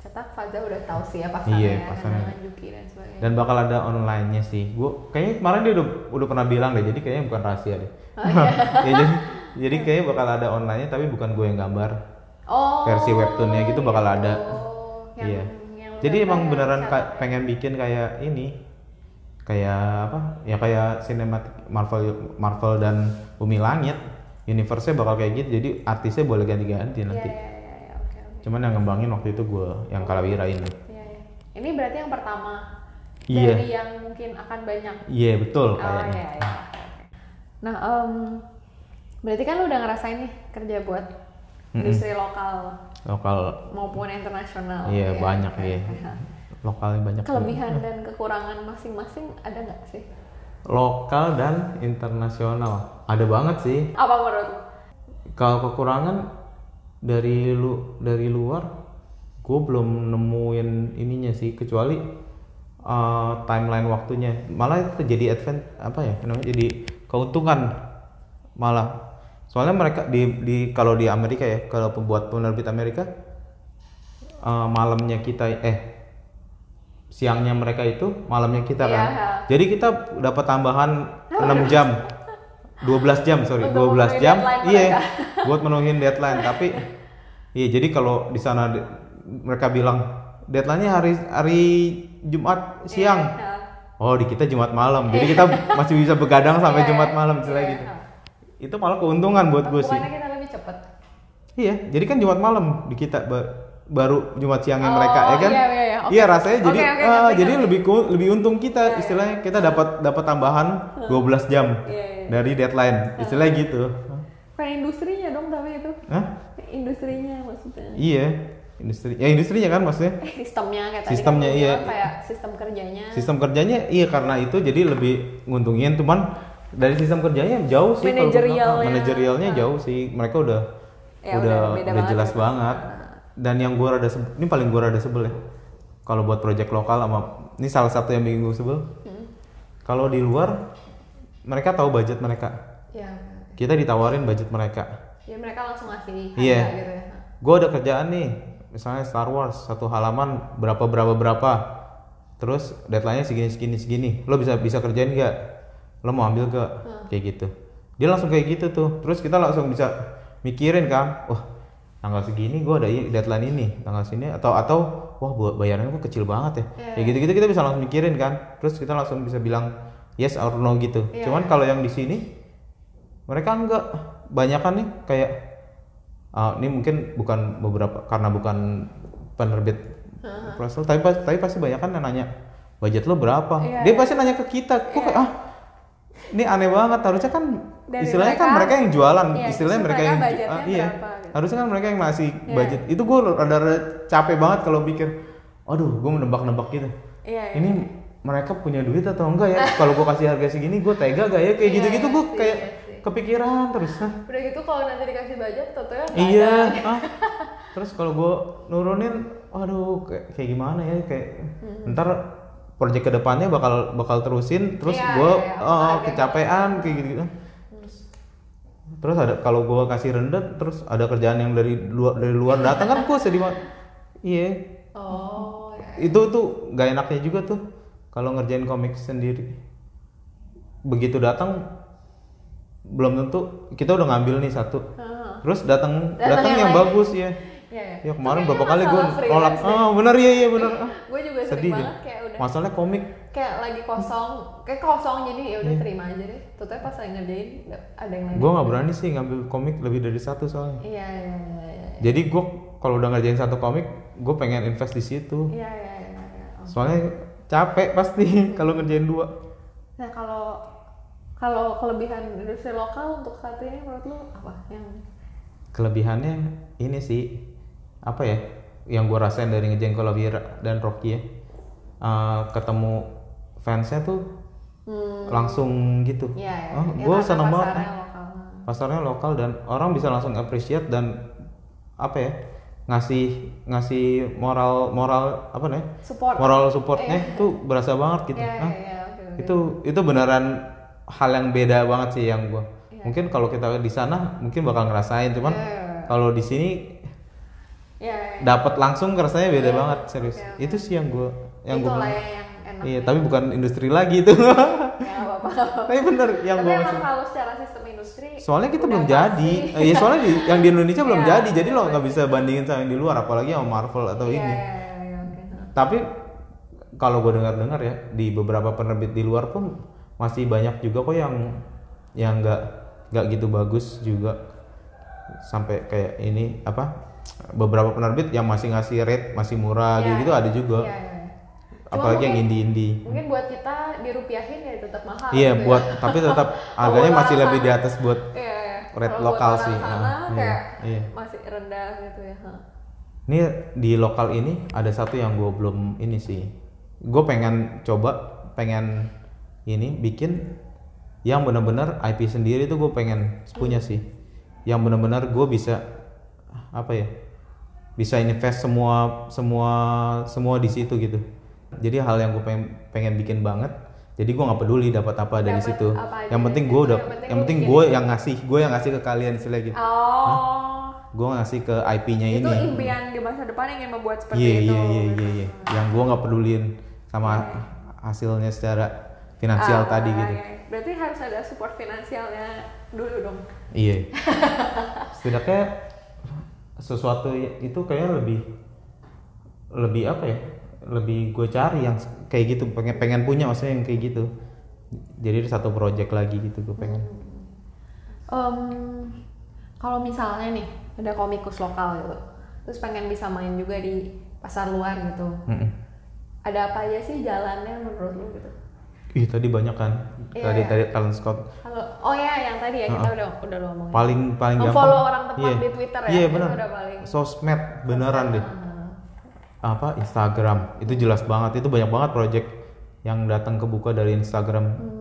cetak Faza udah tahu sih ya pasarnya, Iya, ya, pasarnya. kenangan Juki dan sebagainya. dan bakal ada online-nya sih. Gue kayaknya kemarin dia udah, udah pernah bilang deh, jadi kayaknya bukan rahasia deh. Oh, iya. Ya, jadi, jadi kayaknya bakal ada online-nya tapi bukan gue yang gambar. oh, versi webtoonnya gitu bakal ada. Yang, Iya. yang Jadi gambar emang yang beneran cetak. Iya, ka- pengen bikin kayak ini. Kayak apa? Ya kayak sinematik Marvel Marvel dan Bumi Langit. Universe-nya bakal kayak gitu. Jadi artisnya boleh ganti-ganti Iya, nanti. iya, iya, iya, oke, oke. Cuman yang ngembangin waktu itu gue yang Kalawira ini. Iya, iya. Ini berarti yang pertama Iya. dari yang mungkin akan banyak. Iya, betul Oh, iya, kayaknya. iya. oke, oke. Nah, em, berarti kan lu udah ngerasain nih kerja buat industri lokal Lokal maupun internasional. iya ya. banyak ya. Lokalnya banyak. iya. juga. Kelebihan dan kekurangan masing-masing ada nggak sih? lokal dan internasional ada banget sih Apa menurut lu? kalau kekurangan dari lu dari luar gue belum nemuin ininya sih kecuali uh, timeline waktunya malah itu jadi advent apa ya namanya jadi keuntungan malah soalnya mereka di di kalau di Amerika ya kalau pembuat penerbit Amerika uh, malamnya kita eh siangnya mereka itu malamnya kita kan Iya. jadi kita dapat tambahan 6 jam 12 jam sorry 12 Untuk memenuhi jam deadline iya buat menuhin deadline tapi iya jadi kalau di sana di- mereka bilang deadline-nya hari hari Jumat siang Iya, oh di kita Jumat malam jadi kita masih bisa begadang sampai Iya, Jumat malam istilah iya. gitu itu malah keuntungan buat gue sih Bukannya kita lebih cepet. iya jadi kan Jumat malam di kita ba- baru Jumat siangnya Oh, mereka ya kan iya, iya, iya, oke. rasanya jadi Oke, oke, ah, ngerti, jadi ngerti. lebih ku- lebih untung kita istilahnya kita dapat dapat tambahan 12 jam Iya, iya. dari deadline istilahnya gitu Bukan industrinya dong tapi itu. Hah? Industrinya maksudnya. Iya, industri. Ya industrinya kan maksudnya. Eh, sistemnya kayak tadi Sistemnya, kan lu iya. bilang kayak sistem kerjanya Sistem kerjanya iya karena itu jadi lebih nguntungin cuman dari sistem kerjanya jauh sih kalau gua- Manajerialnya. Ah. manajerialnya jauh sih. Mereka udah Ya, udah udah beda udah, banget jelas ya. banget. Dan yang gua rada sebel, ini paling gua rada sebel ya. Kalau buat project lokal sama ini salah satu yang bikin gua sebel. Hmm. Kalau di luar mereka tahu budget mereka. ya Kita ditawarin budget mereka. ya mereka langsung ngasih harga Iya. gitu ya gue ada kerjaan nih misalnya Star Wars satu halaman berapa berapa berapa terus deadline-nya segini segini segini lo bisa bisa kerjain nggak lo mau ambil gak kayak gitu dia langsung kayak gitu tuh terus kita langsung bisa mikirin kan wah tanggal segini gue ada i- deadline ini tanggal sini atau atau wah bu- bayarannya kok kecil banget ya kayak gitu gitu kita bisa langsung mikirin kan terus kita langsung bisa bilang yes or no gitu cuman kalau yang di sini mereka enggak banyakan nih kayak ah, ini mungkin bukan beberapa karena bukan penerbit Pressel, tapi pas- tapi pasti banyak kan yang nanya budget lo berapa Iya. dia pasti nanya ke kita kok kayak, ah ini aneh banget harusnya kan Dari istilahnya kan mereka- mereka yang jualan Iya, istilahnya justru mereka, mereka yang ju- budgetnya ah, iya berapa gitu. Iya. harusnya kan mereka yang ngasih budget itu gue rada capek banget kalau mikir aduh gue menebak-nebak gitu Iya, iya. ini mereka punya duit atau enggak ya kalau gue kasih harga segini gue tega gak ya kayak gitu-gitu gue sih, kayak iya kepikiran terus Hah, udah gitu kalau nanti dikasih budget tentu ya iya ah. terus kalau gue nurunin waduh kayak, kayak gimana ya kayak Hmm. ntar proyek kedepannya bakal bakal terusin terus Iya, gue iya, iya. oh, Ada kecapean kayak gitu, -gitu. terus ada kalau gue kasih rendet terus ada kerjaan yang dari luar dari luar datang kan gue sedih banget iya oh ya. itu tuh gak enaknya juga tuh kalau ngerjain komik sendiri begitu datang belum tentu kita udah ngambil nih satu Heeh. terus datang Datang datang yang yang, lain. bagus ya Iya, iya. ya kemarin Itu berapa kayaknya kali gue masalah nolak freelance ah bener iya iya bener Ah, gue juga sering sedih ya. banget kayak udah masalahnya komik kayak lagi kosong kayak kosong jadi ya udah terima aja deh Tentunya pas lagi ngerjain ada yang lain gue Iya. nggak berani sih ngambil komik lebih dari satu soalnya iya iya iya iya jadi gue kalau udah ngerjain satu komik gue pengen invest di situ iya iya iya, iya. Oh. soalnya capek pasti kalau ngerjain dua nah kalau kalau kelebihan industri lokal untuk saat ini menurut lu apa yang kelebihannya ini sih apa ya yang gue rasain dari ngerjain Kolawira dan Rocky ya Eh, ketemu fansnya tuh hmm langsung gitu iya iya oh, Ya, gue karena seneng banget pasarnya lokal pasarnya lokal dan orang bisa langsung appreciate dan apa ya ngasih ngasih moral moral apa nih support moral supportnya tuh berasa banget gitu iya iya Hah? iya oke oke itu itu beneran hal yang beda banget sih yang gua mungkin kalau kita di sana mungkin bakal ngerasain cuman Iya, iya, iya. kalau di sini iya iya dapat langsung rasanya beda banget serius oke, oke. itu sih yang gue yang gue itu lah ya yang enak iya tapi bukan industri lagi itu ya apa apa tapi bener yang gue tapi emang kalau secara sistem industri soalnya kita udah belum jadi pasti. Eh, iya soalnya di- yang di Indonesia belum Iya, jadi jadi lo nggak bisa bandingin sama yang di luar apalagi sama Marvel atau Iya, ini iya, iya, iya, oke. tapi kalau gue dengar dengar ya di beberapa penerbit di luar pun masih banyak juga kok yang yang nggak nggak gitu bagus juga sampai kayak ini apa beberapa penerbit yang masih ngasih rate masih murah Iya, gitu ada juga Iya, iya. Cuma apalagi yang mungkin- indie indie mungkin buat kita dirupiahin ya tetap mahal iya gitu ya. buat tapi tetap harganya masih lebih di atas buat Iya, iya. Rate Kalau lokal buat orang sih, sana ah, iya, kayak iya. masih rendah gitu ya ha. ini di lokal ini ada satu yang gue belum ini sih gue pengen coba pengen ini bikin yang bener-bener IP sendiri tuh gue pengen punya sih yang bener-bener gue bisa apa ya bisa invest semua semua semua di situ gitu jadi hal yang gue pengen pengen bikin banget jadi gue nggak peduli dapat apa dari Dapat situ apa aja yang dari penting situ, gue udah yang penting yang lu penting bikin gue yang ngasih gue yang ngasih ke kalian istilah gitu oh gue ngasih ke IP-nya ini itu impian di masa depan yang ingin membuat seperti Iya itu iya iya iya iya. Yang gua nggak pedulin sama hasilnya secara finansial Ah, tadi ah, gitu. iya. berarti harus ada support finansialnya dulu dong Iya. Setidaknya sesuatu itu kayaknya lebih lebih apa ya? Lebih gue cari yang kayak gitu pengen pengen punya maksudnya yang kayak gitu. Jadi ada satu project lagi gitu gue pengen. Em, kalau misalnya nih ada komikus lokal gitu terus pengen bisa main juga di pasar luar gitu Mm-mm. ada apa aja sih jalannya menurut lu gitu Ih tadi banyak kan. Iya, Tadi iya. tadi Alan Scott Halo. Oh ya, yang tadi ya kita udah udah lu omongin. paling paling gampang. Memfollow orang tepat Iya. di Twitter ya, Iya itu benar. udah paling- Sosmed beneran deh. Ah, apa Instagram itu jelas banget itu banyak banget project yang datang ke buka dari Instagram. hmm.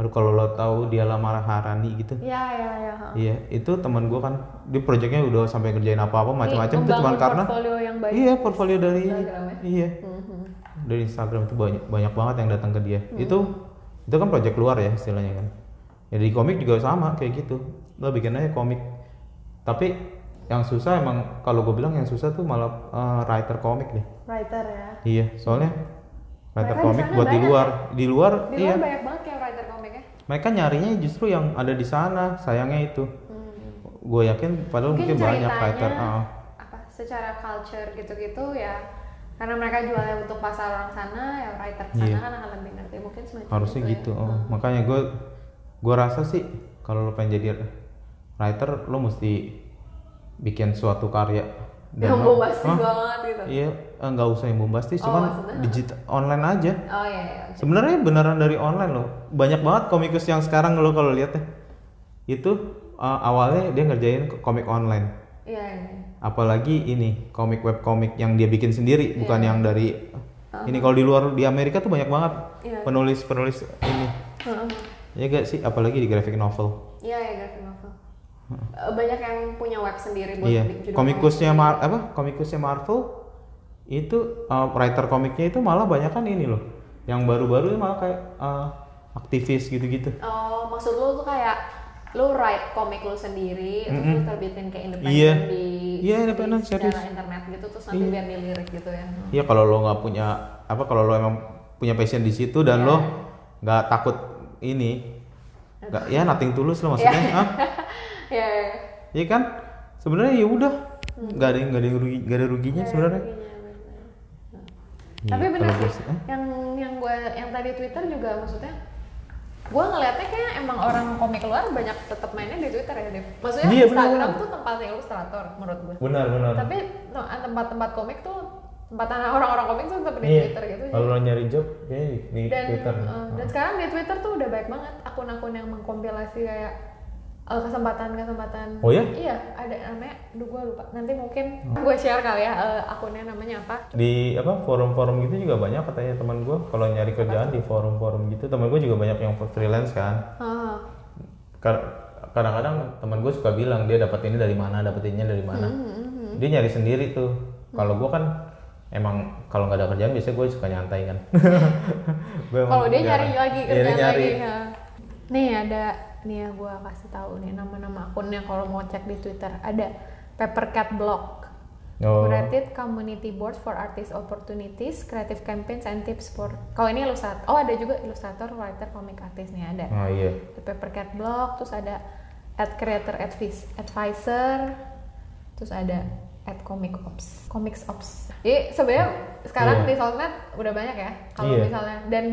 Aduh kalau lo tahu dia Mara Harani gitu. Ya ya ya. ha. Iya, itu teman gua kan di projectnya udah sampai ngerjain apa-apa macam-macam itu Membangun cuma karena portfolio yang baik. iya portfolio dari ini. Instagram ya? Iya, Mhm. dari Instagram itu banyak banyak banget yang datang ke dia. Itu Mm-hmm. itu kan project luar ya istilahnya kan. Ya di komik juga sama kayak gitu. Lo bikin aja komik. Tapi yang susah emang kalau gue bilang yang susah tuh malah eh, writer komik deh. Writer ya. Iya, soalnya writer Mereka di komik sana buat di banyak ya? luar, di luar, Di luar iya. banyak banget kayak writer komik ya. Mereka nyarinya justru yang ada di sana, sayangnya itu. Hmm. Gue yakin padahal mungkin, banyak ceritanya, writer. ah. heeh. apa secara culture gitu-gitu ya karena mereka jualnya untuk pasar orang sana ya writer sana Iya. kan akan lebih ngerti mungkin semacam harusnya itu gitu. ya. oh. Makanya gue gue rasa sih kalau lo pengen jadi writer lo mesti bikin suatu karya yang lo- bombastis Hah? banget gitu Iya, eh, nggak usah yang bombastis, Oh, cuman maksudnya? digital online aja. oh iya iya Sebenarnya beneran dari online loh. Banyak banget komikus yang sekarang lo kalau lihat deh. Itu uh, awalnya dia ngerjain k- komik online. iya iya Apalagi ini komik web komik yang dia bikin Iya. sendiri, bukan yang dari ini kalau di luar di Amerika tuh banyak banget Uh-huh. Iya. Uh-huh. penulis-penulis ini. Heeh. Ya gak sih, apalagi di graphic novel. Iya ya graphic novel. Eh, Banyak yang punya web sendiri buat Hmm. iya. bikin judul Komikusnya komik. Mar apa? Komikusnya Marvel itu uh, writer komiknya itu malah banyak kan ini loh. Yang baru-baru malah kayak uh, aktivis gitu-gitu. Oh, maksud lu tuh kayak lu write komik lu sendiri, terus lu terbitin kayak independen Iya. di Iya, di independen, secara serius. internet gitu terus nanti biar dilirik gitu ya. Iya kalau lo nggak punya apa kalau lo emang punya passion di situ Iya. dan lo nggak takut ini nggak ya nothing tulus lo maksudnya Hah? Iya, iya. iya kan Hmm. sebenarnya ya udah nggak ada yang nggak ada yang rugi nggak ada ruginya sebenarnya Iya, Tapi bener kalau sih, gua sih, eh? yang yang gue yang tadi Twitter juga maksudnya gue ngeliatnya kayak emang orang komik luar banyak tetap mainnya di Twitter ya, Dev. Maksudnya Iya, bener. Iya. Instagram tuh tempatnya ilustrator menurut gue. benar benar Tapi no, tempat-tempat komik tuh tempat orang-orang komik tuh tetap di Iya. Twitter gitu. kalau lo nyari job ya di, di dan Twitter eh, dan sekarang di Twitter tuh udah banyak banget akun-akun yang mengkompilasi kayak eh, kesempatan-kesempatan Oh ya? Hmm. iya ada namanya aduh gue lupa nanti mungkin gue share kali ya eh, akunnya namanya apa di apa forum-forum gitu juga banyak katanya teman gue kalau nyari kerjaan di forum-forum gitu teman gue juga banyak yang freelance kan Ah, Kar- kadang-kadang teman gue suka bilang dia dapat ini dari mana dapat ininya dari mana Hmm, dia nyari sendiri tuh kalau gue kan emang kalau nggak ada kerjaan biasanya gue suka nyantai kan Gua emang kalau dia jarang- nyari lagi Iya, dia kerjaan nyari. lagi ya. nih ada nih ya gue kasih tahu nih nama-nama akunnya kalau mau cek di Twitter ada Papercat Blog ya. Oh. Curated Community Board for Artist Opportunities, Creative Campaigns and Tips for. Kalau ini ilustrator, oh ada juga ilustrator, writer, comic artist nih ada. oh iya The Papercat Blog, terus ada ad creator advis- advisor, terus ada ad comic ops, comics ops. Jadi sebenarnya Iya. sekarang di sosmed udah banyak ya, kalau Iya. misalnya dan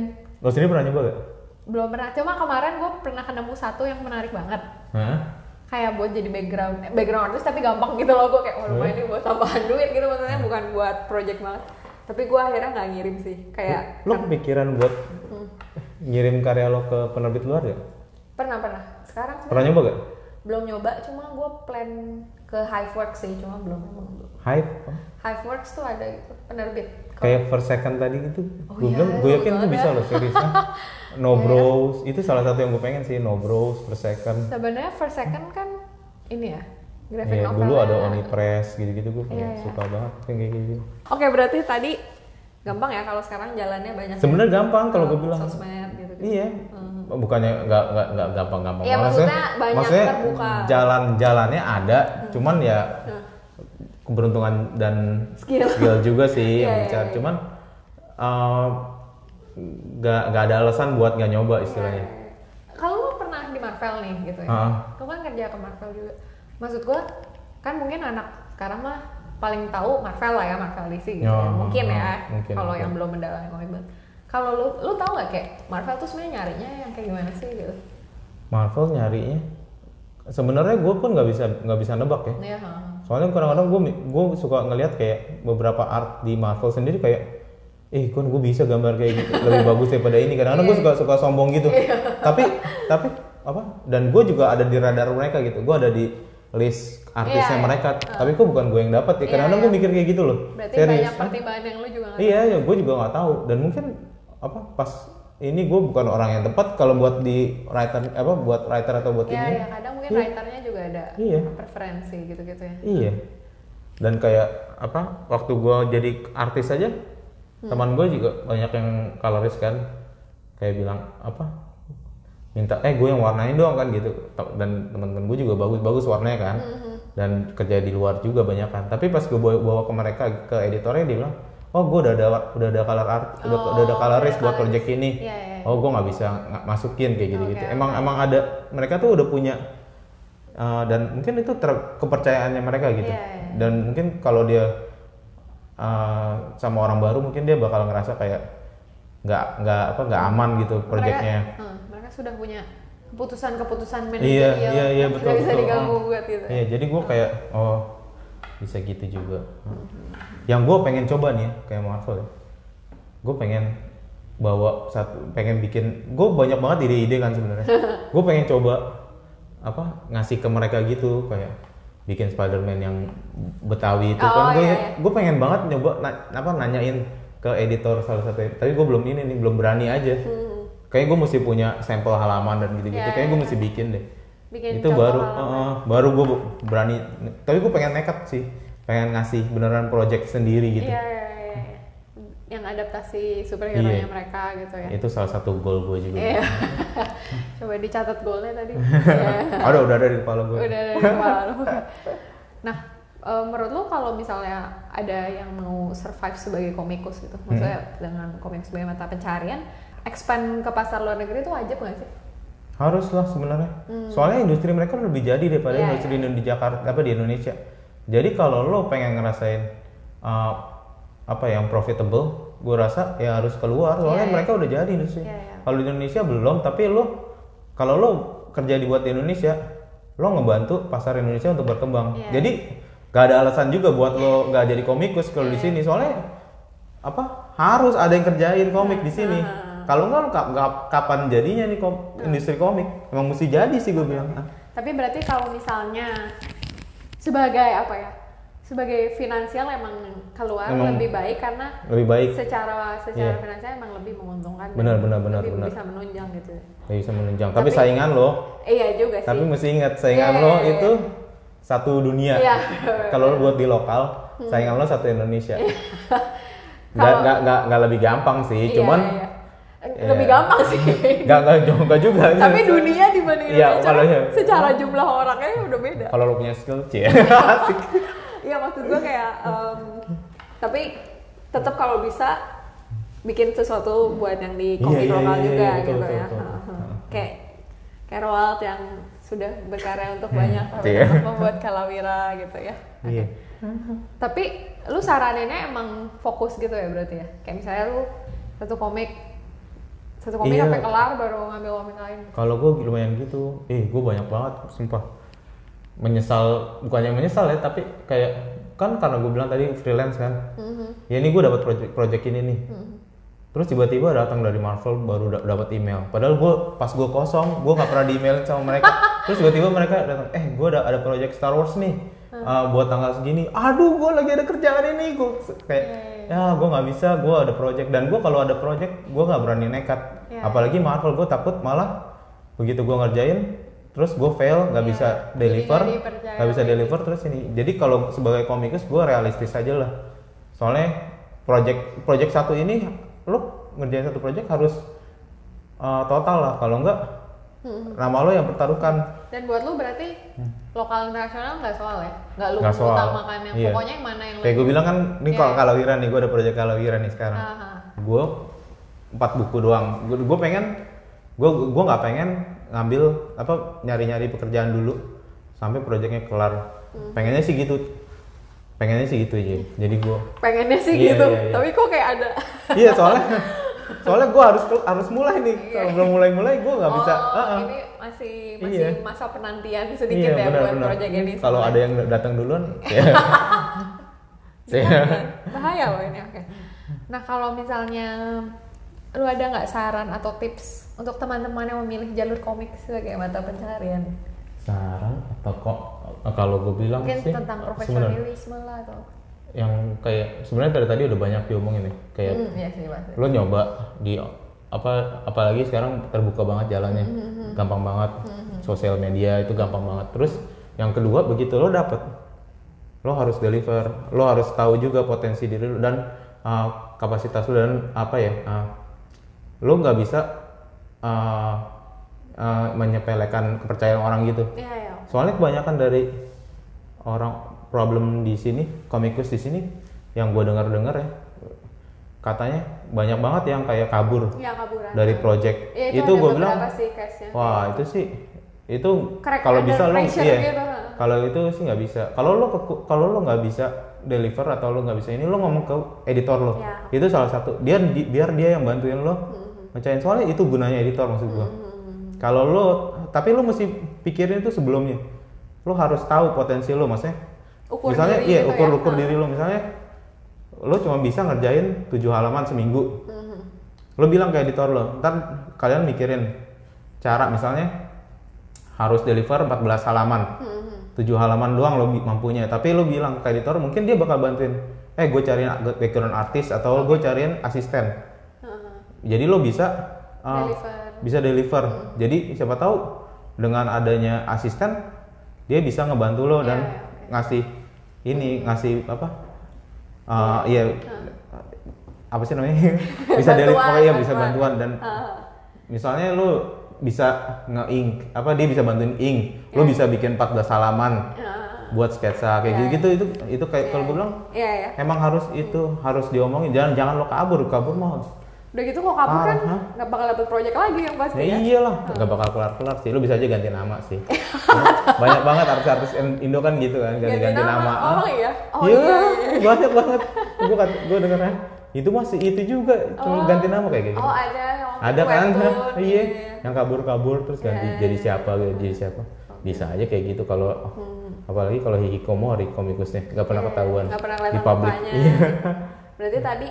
lo sendiri pernah nyoba gak? belum pernah. Cuma kemarin gue pernah ketemu satu yang menarik banget, Hah? kayak buat jadi background eh, background artist tapi gampang gitu loh gue kayak wah Iya. lumayan nih buat tambahan duit gitu maksudnya bukan buat project banget. Tapi gue akhirnya nggak ngirim sih, kayak kan Hmm. lo kepikiran buat ngirim karya lo ke penerbit luar gak? pernah pernah. Sekarang pernah nyoba gak? belum nyoba cuma gue plan ke Hiveworks sih cuma belum emang belum hype Hiveworks tuh ada gitu, penerbit kayak first second tadi gitu Oh gue iya, bilang gue itu yakin tuh banget bisa ya. loh serius ah. no bros itu salah satu yang gue pengen sih no bros first second sebenarnya first second kan ini ya graphic Iya, novel ya. dulu ada Oni Press gitu-gitu gue Iya, iya. suka banget yang kayak gitu. oke berarti tadi gampang ya kalau sekarang jalannya banyak Sebenarnya gampang kalau gue Oh, bilang. sosmed gitu, gitu. Iya. Bukannya nggak nggak nggak gampang-gampang. Iya, banget. maksudnya banyak terbuka. Hmm. Nah. jalan-jalannya ada, cuman ya keberuntungan dan Skill. juga sih Iya, yang iya, bicara. iya. Cuman eh, nggak nggak ada alasan buat nggak nyoba Iya, istilahnya. kalau lo pernah di Marvel nih gitu ya Ah. lo kan kerja ke Marvel juga maksud gue kan mungkin anak sekarang mah paling tahu Marvel lah ya Marvel DC gitu ya. Ya, mungkin ah, ya mungkin, kalau mungkin. yang belum mendalami komik banget kalau lu lu tahu nggak kayak Marvel tuh sebenarnya nyarinya yang kayak gimana sih gitu Marvel nyarinya. Sebenarnya gue pun nggak bisa nggak bisa nebak ya. ya ha. soalnya kadang-kadang gue gue suka ngelihat kayak beberapa art di Marvel sendiri kayak eh kan gue bisa gambar kayak gitu lebih bagus daripada ini kadang-kadang Iya. gue suka suka sombong gitu tapi tapi apa dan gue juga ada di radar mereka gitu gue ada di list artisnya Iya, iya. mereka tapi kok bukan gue yang dapat ya Iya, kadang-kadang gue iya. mikir kayak gitu loh berarti serius banyak pertimbangan yang lu juga nggak iya ya gue juga nggak tahu dan mungkin apa pas ini gue bukan orang yang tepat kalau buat di writer apa buat writer atau buat ya ini ya kadang mungkin Iya. writernya juga ada Iya. preferensi gitu-gitu ya Iya. Dan kayak apa? Waktu gua jadi artis aja, Hmm. teman gue juga banyak yang coloris kan, kayak bilang apa? Minta eh gue yang warnain dong kan gitu. Te- Dan teman-teman gue juga bagus-bagus warnanya kan. Hmm. Dan kerja di luar juga banyak kan. Tapi pas gue bawa, bawa ke mereka ke editornya dia bilang, oh gue udah ada udah ada color art, udah, Oh, udah ada coloris ada buat coloris. project ini. Iya, iya, iya. Oh gue nggak bisa nggak masukin kayak gitu-gitu. Oke, Emang emang ada mereka tuh udah punya Uh, dan mungkin itu ter- kepercayaannya mereka gitu Iya, iya. dan mungkin kalau dia uh, sama orang baru mungkin dia bakal ngerasa kayak nggak nggak apa nggak aman gitu projectnya mereka, hmm, mereka sudah punya keputusan-keputusan iya manajerial iya iya yang betul tidak bisa betul diganggu Oh. gugat gitu ya. iya jadi gue kayak oh bisa gitu juga Hmm. yang gue pengen coba nih ya, kayak Marvel ya gue pengen bawa satu pengen bikin gue banyak banget ide-ide kan sebenarnya gue pengen coba apa ngasih ke mereka gitu kayak bikin Spider-Man yang Betawi itu Oh, kan gue iya, gue pengen banget nyoba na- apa nanyain ke editor salah satu tapi gue belum ini nih belum berani aja Hmm. kayaknya gue mesti punya sampel halaman dan gitu-gitu Iya, kayaknya gue iya, mesti bikin deh Bikin itu contoh baru halaman. eh, baru gue berani tapi gue pengen nekat sih pengen ngasih beneran project sendiri gitu Iya, iya, iya, iya. Yang adaptasi Iya. superhero-nya mereka gitu ya. itu salah satu goal gue juga Iya. Coba dicatat goalnya tadi. Iya. Aduh, udah ada di kepala gue. Udah dari kepala lu. Nah, eh, menurut lu kalau misalnya ada yang mau survive sebagai komikus gitu, maksudnya Hmm. dengan komik sebagai mata pencarian, expand ke pasar luar negeri itu wajib nggak sih? Harus lah sebenarnya. Soalnya industri mereka lebih jadi daripada Hmm. Iya, industri di Jakarta apa di Indonesia. Jadi kalau lo pengen ngerasain uh, apa yang profitable gue rasa ya harus keluar soalnya Iya, iya. mereka udah jadi industri Iya, iya. kalau di Indonesia belum tapi lo kalau lo kerja dibuat di Indonesia lo ngebantu pasar Indonesia untuk berkembang Iya. jadi gak ada alasan juga buat lo gak jadi komikus kalau di Iya. sini soalnya apa harus ada yang kerjain komik di sini Iya. kalau nggak lo ka- ka- kapan jadinya nih kom- industri komik emang mesti jadi sih Iya. gue bilang Ah. Tapi berarti kalau misalnya sebagai apa ya? Sebagai finansial emang keluar Emang- lebih baik karena lebih baik secara secara Iya. finansial emang lebih menguntungkan. dan Benar, benar, benar, lebih benar. Bisa menunjang gitu. Gak Iya, bisa menunjang tapi, Tapi- saingan lo Eh, iya juga sih. tapi mesti ingat saingan Iya, lo iya, iya. itu satu dunia Iya. kalau lo buat di lokal saingan lo satu Indonesia nggak Hmm. Kalau- nggak nggak nggak lebih gampang sih Iya, cuman iya. Eh, iya. lebih gampang sih. nggak nggak juga nggak juga Tapi dunia dibanding Iya, Indonesia kalau- iya. secara jumlah orangnya udah beda. kalau lo punya skill cie asik. Iya maksud gue kayak em, tapi tetap kalau bisa bikin sesuatu buat yang di Iya, komik iya, lokal iya, iya, juga betul, gitu betul, ya. betul. Heeh. Kayak kayak Roald yang sudah berkarya untuk banyak Gitu ya. untuk membuat kalawira gitu ya. iya Tapi lu saraninnya emang fokus gitu ya berarti ya. Kayak misalnya lu satu komik satu komik Iya. sampai kelar baru ngambil komik lain. kalau gue lumayan gitu eh gue banyak banget sumpah menyesal bukannya menyesal ya tapi kayak kan karena gue bilang tadi freelance kan Mhm. ya ini gue dapat project project ini nih Mm-hmm. terus tiba-tiba datang dari Marvel baru da- dapat email padahal gue pas gue kosong gue nggak pernah di email sama mereka terus tiba-tiba mereka datang eh gue ada ada project Star Wars nih eh, buat tanggal segini aduh gue lagi ada kerjaan ini gue kayak ya gue nggak bisa gue ada project dan gue kalau ada project gue nggak berani nekat apalagi Marvel gue takut malah begitu gue ngerjain terus gue fail nggak bisa Iya, jadi deliver nggak dipercaya nggak bisa deliver terus ini jadi kalau sebagai komikus gue realistis aja lah soalnya project project satu ini lo ngerjain satu project harus uh, total lah kalau enggak Hmm. nama lo yang pertaruhkan Dan buat lu berarti lokal internasional nggak soal ya? Nggak lu Hmm. Nggak soal. utamakan yang Iya. pokoknya yang mana yang kayak gue bilang kan ini Iya, Ah. kalau iya. kalawiran nih gue ada project kalawiran nih sekarang Aha. gue empat buku doang gue gue pengen gue gue nggak pengen ngambil apa nyari nyari pekerjaan dulu sampai proyeknya kelar Hmm. pengennya sih gitu pengennya sih gitu aja jadi gue pengennya sih Iya, gitu iya, iya. tapi kok kayak ada iya soalnya soalnya gue harus kel- harus mulai nih kalau belum mulai mulai gue nggak bisa Iya. oh Heeh. ini masih masih Iya. masa penantian sedikit ya buat benar-benar. proyek ini kalau ada yang datang duluan ya Iya. bahaya loh ini oke nah kalau misalnya lu ada nggak saran atau tips untuk teman-teman yang memilih jalur komik sebagai mata pencarian saran atau kok kalau gue bilang mungkin sih tentang sebenarnya profesionalisme lah atau yang kayak sebenarnya dari tadi udah banyak diomongin nih kayak hmm, ya sih pasti lo nyoba di apa apalagi sekarang terbuka banget jalannya gampang banget sosial media itu gampang banget terus yang kedua begitu lo dapet lo harus deliver lo harus tahu juga potensi diri lo dan uh, kapasitas lo dan apa ya uh, lo nggak bisa uh, uh, menyepelekan kepercayaan orang gitu iya ya soalnya kebanyakan dari orang problem di sini komikus di sini yang gue dengar dengar ya katanya banyak banget yang kayak kabur ya kaburan dari project ya, itu, itu, ada gue beberapa bilang sih case-nya wah itu sih itu ya. Crack kalau under bisa lo pressure iya gitu. kalau itu sih nggak bisa kalau lo keku- kalau lo nggak bisa deliver atau lo nggak bisa ini lo ngomong ke editor lo Ya. itu salah satu dia di- biar dia yang bantuin Hmm, lo mecahin soalnya itu gunanya editor maksud gua kalau lo tapi lo mesti pikirin itu sebelumnya lo harus tahu potensi lo maksudnya ukur misalnya diri iya gitu ukur ya. ukur diri lo misalnya lo cuma bisa ngerjain tujuh halaman seminggu Mm-hmm. lo bilang ke editor lo ntar kalian mikirin cara misalnya harus deliver 14 halaman Mm-hmm. tujuh halaman doang lo bi- mampunya tapi lo bilang ke editor mungkin dia bakal bantuin eh gue cariin ag- background artis atau gue cariin asisten jadi lo bisa uh, Deliver. Hmm. bisa deliver jadi siapa tahu dengan adanya asisten dia bisa ngebantu lo dan ya, ngasih ini ngasih apa uh, iya apa sih namanya bisa Hmm. Bantuan, deliver ya bisa bantuan. Ah. bantuan dan misalnya lo bisa nge-ink apa dia bisa bantuin ink lo Iya. bisa bikin 14 halaman Ah. buat sketsa kayak gitu gitu itu itu kayak kalau gue bilang iya ya emang harus itu harus diomongin jangan jangan lo kabur kabur mah Udah gitu kok kabur kan Parah. nggak bakal dapet proyek lagi yang pasti Ya kan. iyalah, nggak bakal kelar-kelar sih. Lu bisa aja ganti nama sih. banyak banget artis-artis Indo kan gitu kan, ganti-ganti nama. Oh iya. Oh iya, iya. banyak banget. Gue kan, gue dengernya itu masih itu juga, cuma ganti nama kayak gitu. Oh ada yang waktu Ada kan? webtoon, Iya, iya, yang kabur-kabur terus ganti jadi siapa, jadi siapa. Bisa aja kayak gitu kalau apalagi kalau hikikomori komikusnya nggak pernah ketahuan Hmm. Iya. Nggak pernah kelihatan di publik. mukanya. Iya. Berarti tadi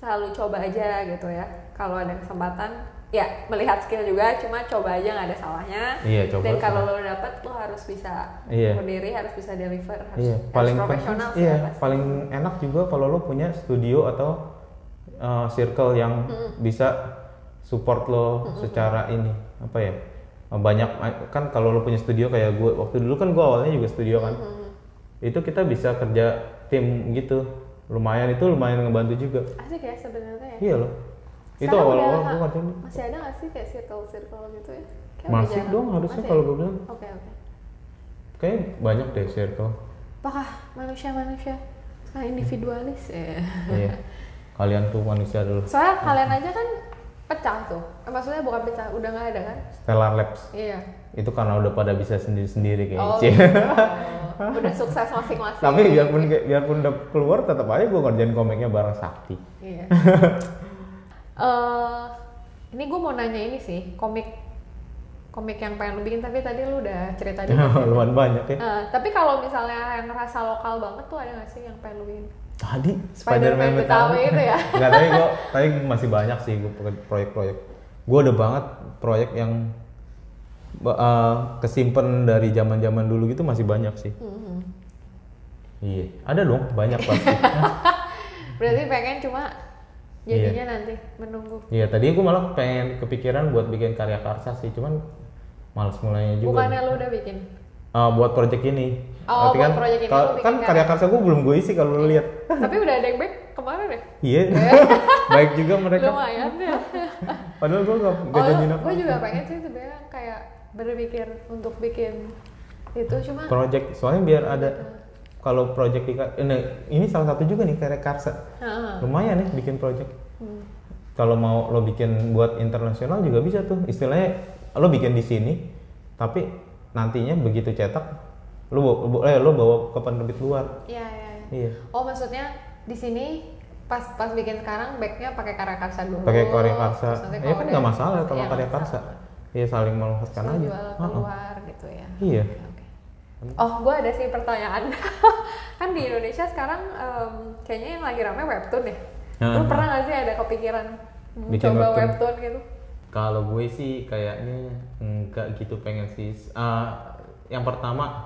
selalu coba aja gitu ya. Kalau ada kesempatan, ya melihat skill juga, cuma coba aja nggak ada salahnya. Iya, coba Dan kalau lo dapet, lo harus bisa Iya. berdiri, harus bisa deliver, harus, Iya, harus paling profesional pen- sih iya, yang pasti. paling enak juga kalau lo punya studio atau uh, circle yang bisa support lo secara ini apa ya? Banyak kan kalau lo punya studio kayak gue waktu dulu kan gue awalnya juga studio kan. Itu kita bisa kerja tim gitu. Lumayan itu lumayan ngebantu juga. Asik ya sebenarnya ya. Iya loh. Itu Sekarang awal-awal gue udah nggak- ngerjain. Masih ada nggak sih kayak circle-circle gitu ya? Kayak udah Masih jarang. dong harusnya Masih kalau ya? gue bilang. Oke, oke. Kayaknya banyak deh circle. Apakah manusia-manusia sekarang individualis? Ya. iya. Kalian tuh manusia dulu. Soalnya kalian aja kan pecah tuh. Eh, Maksudnya bukan pecah, udah nggak ada kan? Stellar Labs. Iya. itu karena udah pada bisa sendiri-sendiri kayak Oh, Cie. gitu. udah sukses masing-masing. tapi biarpun biarpun udah keluar tetap aja gue ngerjain komiknya bareng Sakti Iya. Eh, ini gue mau nanya ini sih, komik komik yang pengen lu bikin tapi tadi lu udah cerita dikit. ya. lumayan banyak ya Eh, tapi kalau misalnya yang ngerasa lokal banget tuh ada nggak sih yang pengen lu bikin? tadi Spider-Man Betawi itu ya? nggak tapi gue tapi masih banyak sih gue proyek-proyek gue udah banget proyek yang ba- eh, kesimpan dari zaman-zaman dulu gitu masih banyak sih Mm-hmm. iya ada dong banyak pasti Berarti pengen cuma jadinya nanti menunggu. iya tadi gue malah pengen kepikiran buat bikin karya karsa sih cuman males mulainya juga Bukannya lu udah bikin? Ah, buat project ini. Oh, Berarti buat project ini kalau- lu bikin Iya. kan karya. karya karya gue belum gue isi kalau lu lihat. tapi udah ada yang back kemarin deh. Iya. Baik juga mereka. Lumayan ya. Padahal gue gak, Oh, gak janjiin apa. gue juga pengen sih sebenarnya kayak berpikir untuk bikin itu cuma Project soalnya biar ada kalau project di kar- ini, ini salah satu juga nih karya karsa. Heeh. Lumayan nih bikin project. Hmm. Kalau mau lo bikin buat internasional juga bisa tuh. Istilahnya lo bikin di sini tapi nantinya begitu cetak lo bawa, bo- eh, lo bawa ke penerbit luar. ya ya ya. Iya. oh maksudnya di sini pas pas bikin sekarang backnya pakai karya karsa dulu pakai karya karsa terus nanti ya kalau kan ada- nggak masalah sama Oh, Iya, karya nggak karsa masalah. ya saling meluaskan Terus aja jual Heeh. keluar gitu ya iya Oke, oke. Oh, gue ada sih pertanyaan. kan di Indonesia sekarang em, kayaknya yang lagi rame webtoon deh. Lu Heeh. pernah gak sih ada kepikiran Bikin coba webtoon. webtoon gitu? kalau gue sih kayaknya nggak gitu pengen sih Ah, yang pertama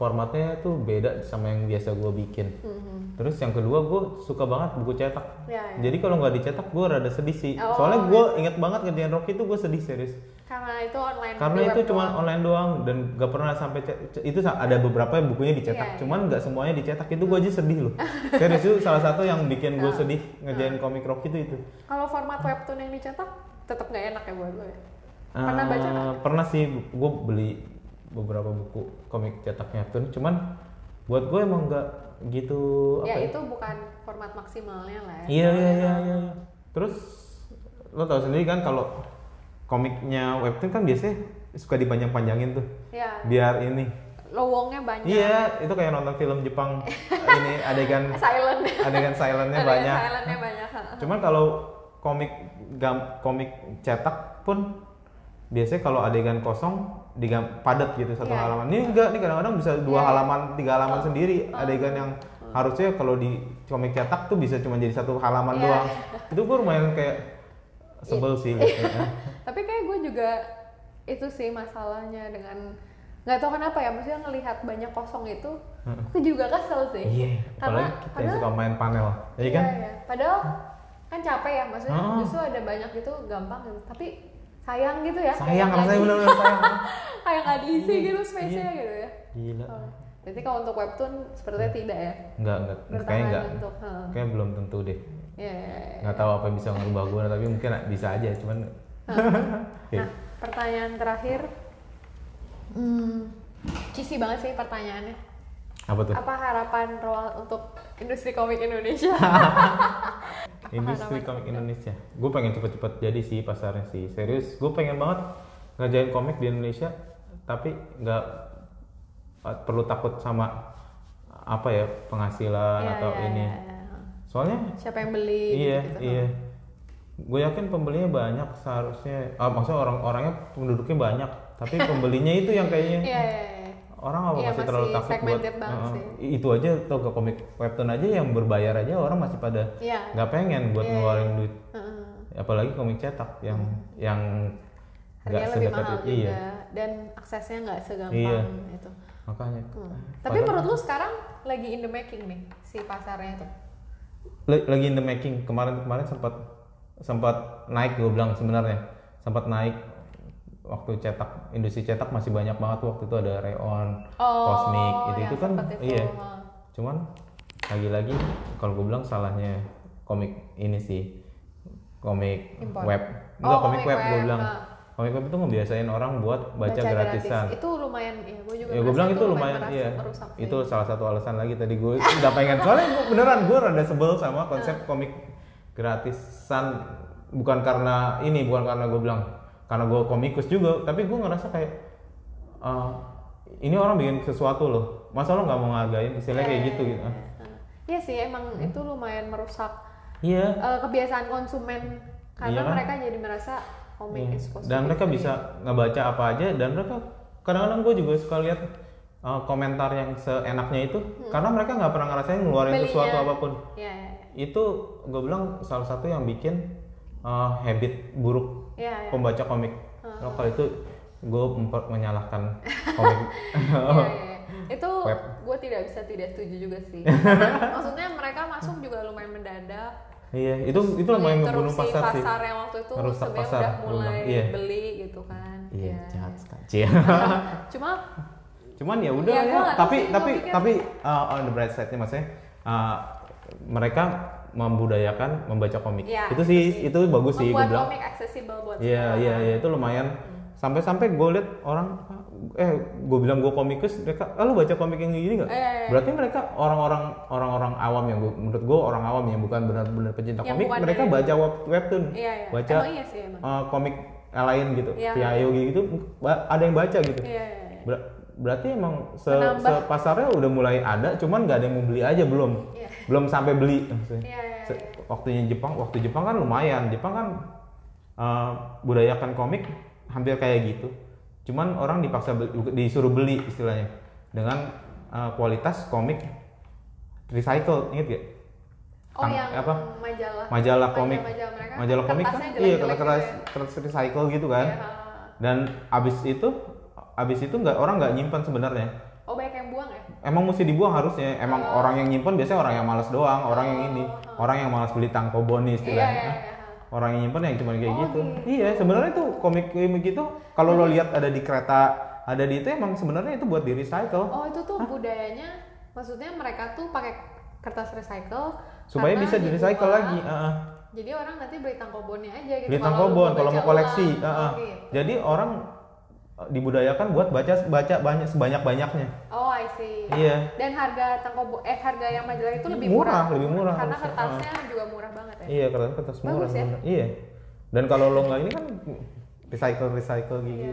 formatnya tuh beda sama yang biasa gue bikin Hmm. terus yang kedua gue suka banget buku cetak Mm-hmm. Ya, ya. jadi kalau nggak dicetak gue rada sedih sih Oh. soalnya gue inget banget ngerjain Rocky tuh gue sedih serius Karena itu online. karena di itu webtoon. cuma online doang dan gak pernah sampai ce- ce- itu sa- ada beberapa yang bukunya dicetak Iya, iya. cuman nggak semuanya dicetak itu gue aja sedih loh serius itu salah satu yang bikin Ah. gue sedih ngerjain komik rock itu itu Kalau format webtoon yang dicetak tetap nggak enak ya buat lo ya. Pernah Eh, baca nggak? pernah sih gue beli beberapa buku komik cetaknya tuh cuman buat gue emang nggak gitu Ya apa ya itu bukan format maksimalnya lah. ya. iya iya iya iya terus lo tau sendiri kan kalau komiknya webtoon kan biasanya suka dipanjang-panjangin tuh Ya, biar ini lowongnya banyak. Iya, itu kayak nonton film Jepang ini adegan Eh, Silent. adegan silentnya Ada ya, banyak. Silentnya banyak. ha. Cuman kalau komik gam, komik cetak pun biasanya kalau adegan kosong digam padat gitu satu Iya, Oh. iya. halaman. Ini enggak nih kadang-kadang bisa dua halaman, tiga halaman sendiri adegan yang Hmm. harusnya kalau di komik cetak tuh bisa cuma jadi satu halaman Iya. doang. Itu gue lumayan kayak sebel sih gitu. Tapi kayak gue juga itu sih masalahnya dengan nggak tahu kenapa ya maksudnya ngelihat banyak kosong itu aku juga kesel sih Hmm. Iya, karena apalagi kita yang padahal suka main panel. Iya kan? Iya, iya. Padahal kan capek ya, maksudnya Ah. justru ada banyak itu gampang gitu. Tapi sayang gitu ya. Sayang kayak nggak rasanya di- benar-benar sayang. kayak nggak diisi Iya, gitu space-nya gitu ya. Gila. Oh. Berarti kalau untuk webtoon sepertinya tidak ya. Enggak, enggak. Kayaknya Bertahan enggak. untuk heeh. Kayaknya belum tentu deh. Iya, iya, iya. Nggak tahu apa yang bisa ngerubah gue, tapi mungkin bisa aja. Cuman, Oke. Nah, pertanyaan terakhir. Hmm, cheesy banget sih pertanyaannya. apa tuh? Apa harapan Roal untuk industri komik Indonesia? industri Pengalaman. komik Indonesia gue pengen cepet-cepet jadi sih pasarnya sih serius gue pengen banget ngajain komik di Indonesia tapi nggak eh, perlu takut sama apa ya penghasilan Iya, atau iya, ini iya, iya. soalnya Siapa yang beli? gitu iya gitu-gitu. iya gue yakin pembelinya banyak seharusnya ah, maksudnya orang-orangnya penduduknya banyak tapi pembelinya itu yang kayaknya Iya, iya, iya. orang apa Iya, masih terlalu masih takut segmented banget Heeh. sih. itu aja atau ke komik webtoon aja yang berbayar aja orang masih pada Iya. nggak pengen buat Iya, ngeluarin duit Heeh. apalagi komik cetak yang yang nggak Harganya lebih sedekat mahal itu juga iya dan aksesnya nggak segampang Iya. itu. makanya Hmm. Tapi Padahal- kan- menurut lu sekarang lagi in the making nih si pasarnya itu. Le- lagi in the making kemarin kemarin sempat sempat naik gue bilang sebenarnya sempat naik waktu cetak industri cetak masih banyak banget waktu itu ada Rayon, Cosmic itu Oh, yang itu kan sempet itu. iya cuman lagi-lagi kalau gue bilang salahnya komik ini sih komik Impor. web Oh, enggak komik komik web gue web, bilang ah. komik web itu ngebiasain orang buat baca, gratisan Itu lumayan ya gue juga. ya gue merasa bilang itu lumayan meras- iya merusak sih. itu salah satu alasan lagi tadi gue udah pengen soalnya gue beneran gue rada sebel sama konsep komik gratisan bukan karena ini bukan karena gue bilang karena gue komikus juga tapi gue ngerasa kayak eh, ini orang bikin sesuatu loh masa lo nggak mau ngehargain istilahnya kayak gitu gitu Ah, Iya sih emang Hmm. itu lumayan merusak iya eh, kebiasaan konsumen karena Iya kan? mereka jadi merasa Iya. komik is positive. dan mereka bisa ngebaca apa aja dan mereka kadang-kadang gue juga suka lihat uh, komentar yang seenaknya itu karena mereka nggak pernah ngerasain ngeluarin Hmm. Belinya. sesuatu apapun Iya, iya, iya. itu gue bilang salah satu yang bikin uh, habit buruk Iya, iya. pembaca komik Ah. lokal itu gue menyalahkan komik Iya, iya. itu Oh. Web. gue tidak bisa tidak setuju juga sih Karena maksudnya mereka masuk juga lumayan mendadak iya itu itu lumayan ngebunuh Menginterupsi pasar, sih pasar yang waktu itu Ngerusak sebenarnya pasar, udah gua mulai bilang. Iya. beli gitu kan iya Iya. jahat sekali cuma cuman ya udah Ya, ya, gua nggak tahu tapi sih, gua tapi pikir- tapi uh, on the bright side nya maksudnya uh, mereka membudayakan membaca komik ya itu sih itu bagus sih gue membuat bilang komik Hmm. aksesibel buat iya semua iya orang. iya itu lumayan sampai-sampai gue liat orang eh gue bilang gue komikus mereka ah, lu baca komik yang gini nggak Eh, iya, iya. berarti mereka orang-orang orang-orang awam yang gua- menurut gue orang awam yang bukan benar-benar pecinta Yang komik bukan mereka dari- baca web- webtoon iya, iya. baca Emang iya sih emang uh, komik lain gitu Iya. Piayo gitu ada yang baca gitu iya, iya, iya. Ber- berarti emang se, Menambah. se- pasarnya udah mulai ada, cuman nggak ada yang mau beli aja belum, Iya. belum sampai beli. maksudnya. Iya, iya, Se- iya. Waktunya Jepang, waktu Jepang kan lumayan. Jepang kan eh, budayakan komik hampir kayak gitu, cuman orang dipaksa beli- disuruh beli istilahnya dengan eh, kualitas komik recycle, inget gak? oh Kang- yang apa? majalah Majalah komik, majalah mereka majalah komik kan, kertasnya iya jelek-jelek kertas gitu ya. kertas recycle gitu kan. Iya. Dan abis itu, abis itu nggak orang nggak nyimpan sebenarnya. oh banyak yang buang ya Emang mesti dibuang harusnya. Emang orang yang nyimpan biasanya orang yang malas doang, orang yang ini, orang yang malas beli tangkobo nih iya istilahnya. iya iya Orang yang nyimpan yang cuma kayak Oh, gitu. gitu. Iya, sebenarnya tuh komik-komik gitu kalau lo lihat ada di kereta, ada di itu emang sebenarnya itu buat di recycle Oh itu tuh budayanya, maksudnya mereka tuh pakai kertas recycle supaya karena gitu. bisa di recycle dibuang. lagi. Heeh. Jadi orang nanti beli tangkobonnya aja gitu. Beli kalau tangkobon lu kalau mau baca koleksi. ulang. Heeh. Oh, gitu. Jadi orang eh, dibudayakan buat baca baca banyak sebanyak banyaknya. Oh, I see. Iya. Dan harga tangkobo eh harga yang majalah itu lebih Murah, murah. lebih murah Karena harusnya. kertasnya juga murah banget ya. Iya, kertas kertas murah. Bagus ya. sebenarnya. Iya. Dan kalau lo nggak ini kan recycle Iya, recycle gitu.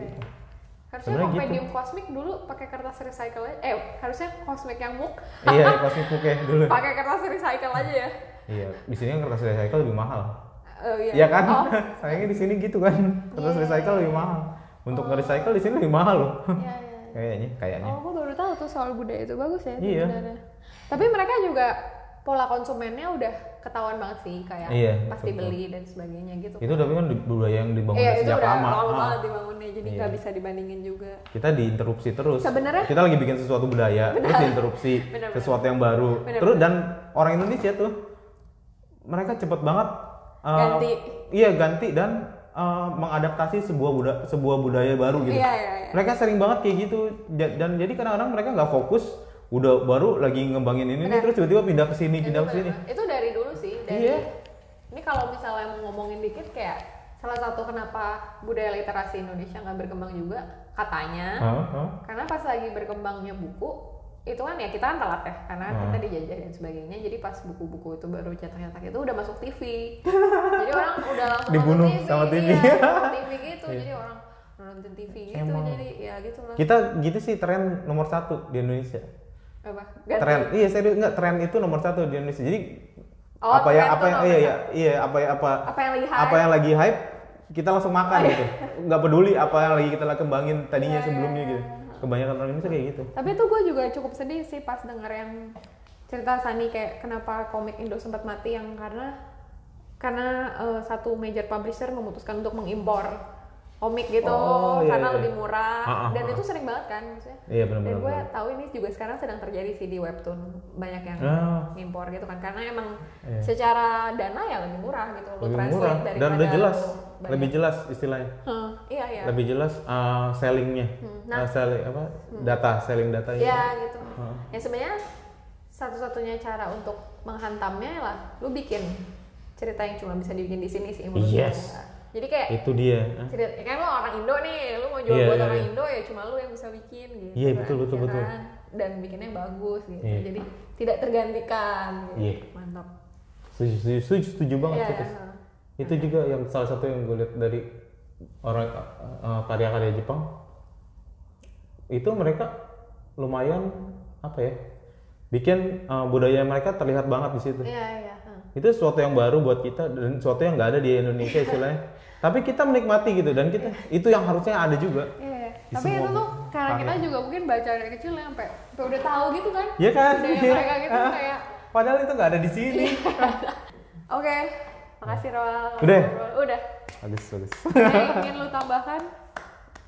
Harusnya Sebenarnya gitu. kompendium kosmik dulu pakai kertas recycle aja. Eh, harusnya kosmik yang muk iya pasti puke dulu pakai kertas recycle aja ya. iya di sini kan kertas recycle lebih mahal Oh iya. iya kan Oh, sayangnya di sini gitu kan kertas recycle lebih mahal untuk nge-recycle di sini lebih mahal loh Oh. iya, iya. kayaknya kayaknya Oh, gue baru tahu tuh soal budaya itu bagus ya Iya. sebenarnya. Tapi mereka juga pola konsumennya udah ketahuan banget sih kayak Iya, pasti betul. beli dan sebagainya gitu. itu tapi kan di- budaya yang dibangun Iya, dari itu sejak udah lama lama Ah, Iya. banget dibangunnya jadi nggak bisa dibandingin juga. kita diinterupsi terus Sebenarnya- kita lagi bikin sesuatu budaya terus diinterupsi Benar-benar. sesuatu yang baru Benar-benar. terus dan orang Indonesia tuh mereka cepet banget eh, Ganti. iya ganti dan eh, mengadaptasi sebuah buda- sebuah budaya baru gitu Iya, iya, iya. mereka sering banget kayak gitu Ja- dan jadi kadang-kadang mereka nggak fokus udah baru lagi ngembangin ini nih, terus tiba-tiba pindah ke sini pindah ke sini Bener-bener. Itu dari dulu sih. Dari, Iya. Ini kalau misalnya mau ngomongin dikit kayak salah satu kenapa budaya literasi Indonesia nggak berkembang juga katanya Hah? Hah? karena pas lagi berkembangnya buku itu kan ya kita kan telat ya karena Ah. kita dijajah dan sebagainya jadi pas buku-buku itu baru cetak-cetak itu udah masuk TV jadi orang udah langsung Dibunuh nonton sama TV. iya, nonton TV gitu jadi orang nonton TV gitu Emang. jadi ya gitu lah Kita gitu sih tren nomor satu di Indonesia. apa Ganti. Tren, iya serius nggak tren itu nomor satu di Indonesia. Jadi Oh, apa ya tren apa tuh yang nomor iya, iya iya apa ya apa apa yang lagi hype Oh, iya. apa yang lagi hype kita langsung makan gitu. Nggak peduli apa yang lagi kita kembangin tadinya iya, sebelumnya gitu. Kebanyakan orang Indonesia kayak gitu. tapi tuh gue juga cukup sedih sih pas denger yang cerita Sani kayak kenapa komik Indo sempat mati yang karena karena eh, satu major publisher memutuskan untuk mengimpor komik gitu Oh, iya, karena iya. lebih murah Ah, ah, dan ah. itu sering banget kan maksudnya Iya benar-benar. dan gue benar. tahu ini juga sekarang sedang terjadi sih di webtoon banyak yang Ah. ngimpor gitu kan karena emang Iya. secara dana ya lebih murah gitu lu Lebih translate murah dan daripada udah jelas, lu bayar. lebih jelas istilahnya. Hah, iya iya Lebih jelas uh, sellingnya, nah. Hmm. Uh, selling apa data, selling datanya. ya gitu Iya. Heeh. ya sebenarnya satu-satunya cara untuk menghantamnya lah lu bikin cerita yang cuma bisa dibikin di sini sih menurut Yes. gua. jadi kayak Itu dia. Iya. Hah? cerita ya kan lo orang Indo nih lu mau jual Iya, buat iya, orang iya. Indo ya cuma lu yang bisa bikin gitu Iya, kan, betul, betul, ya betul. kan? dan bikinnya bagus gitu Iya. jadi tidak tergantikan gitu. Iya. Oh, mantap Setuju, setuju, setuju, setuju banget. Iya, Putus. iya. Itu juga yang salah satu yang gue lihat dari orang uh, karya-karya Jepang. Itu mereka lumayan apa ya? Bikin uh, budaya mereka terlihat banget di situ. iya iya heeh. itu sesuatu yang baru buat kita dan sesuatu yang nggak ada di Indonesia istilahnya tapi kita menikmati gitu dan kita itu yang harusnya ada juga Iya, iya. Di tapi semua itu tuh karena kita tangan. juga mungkin baca dari kecil ya sampai sampai udah tahu gitu kan ya kan budaya Iya. mereka gitu Ah. kayak padahal itu nggak ada di sini oke makasih Roal Udah? udah bagus bagus Ada yang ingin lu tambahkan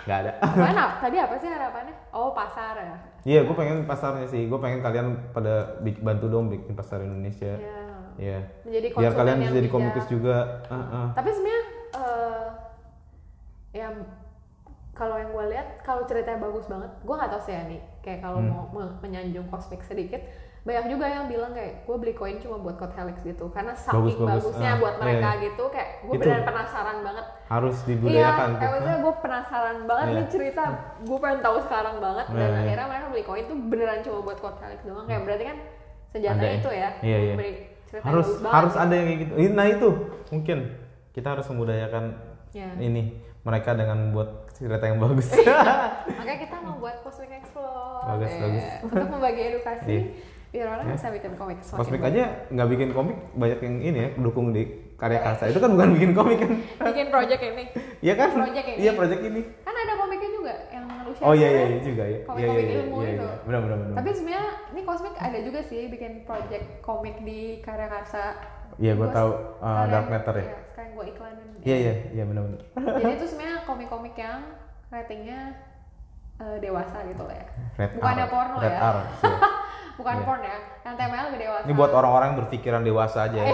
nggak ada mana tadi apa sih harapannya oh pasar ya iya gue pengen pasarnya sih gue pengen kalian pada bi- bantu dong bikin pasar Indonesia ya Iya. menjadi konsumen biar kalian yang iya. bisa jadi bijak. komikus juga Ah, ah. tapi sebenarnya eh, ya kalau yang gue lihat kalau ceritanya bagus banget gue nggak tahu sih ya nih kayak kalau Hmm. mau me- menyanjung kosmik sedikit banyak juga yang bilang kayak gue beli koin cuma buat Code Helix gitu karena saking bagus. bagusnya Ah, buat mereka iya, iya. gitu kayak gue Itu. benar penasaran banget harus Iya, dibudayakan tuh. kayak maksudnya gue penasaran banget Iya. nih cerita gue pengen tahu sekarang banget dan Iya, iya. akhirnya mereka beli koin tuh beneran cuma buat Code Helix doang kayak berarti kan senjata Ada ya? itu ya Iya, iya. beri cerita yang harus bagus banget. harus ada yang kayak gitu nah itu mungkin kita harus membudayakan Iya. ini mereka dengan membuat cerita yang bagus Makanya kita mau buat Cosmic Explore. Bagus, ya. bagus. Untuk membagi edukasi Iya. biar orang bisa bikin komik semakin Kosmik baik. aja nggak bikin komik banyak yang ini ya dukung di karya Iya. karsa itu kan bukan bikin komik kan Bikin project ini. Iya kan Project ini. iya project ini Kan ada komiknya juga yang lu share. oh iya iya kan? iya juga ya iya iya Komik-komik iya ilmu iya itu. iya. benar benar benar Tapi sebenarnya ini Cosmic ada juga sih bikin project komik di karya karsa. Iya, gua Gua tahu, se- uh, sekalian- Dark Matter ya? Iya, sekarang gue iklanin. iya iya iya benar benar Jadi itu sebenarnya komik-komik yang ratingnya eh, dewasa gitu lah ya. Red Bukannya R, porno Red ya. R, iya. Bukan Iya. porn ya. Yang temanya lebih dewasa. ini buat orang-orang yang berpikiran dewasa aja ya.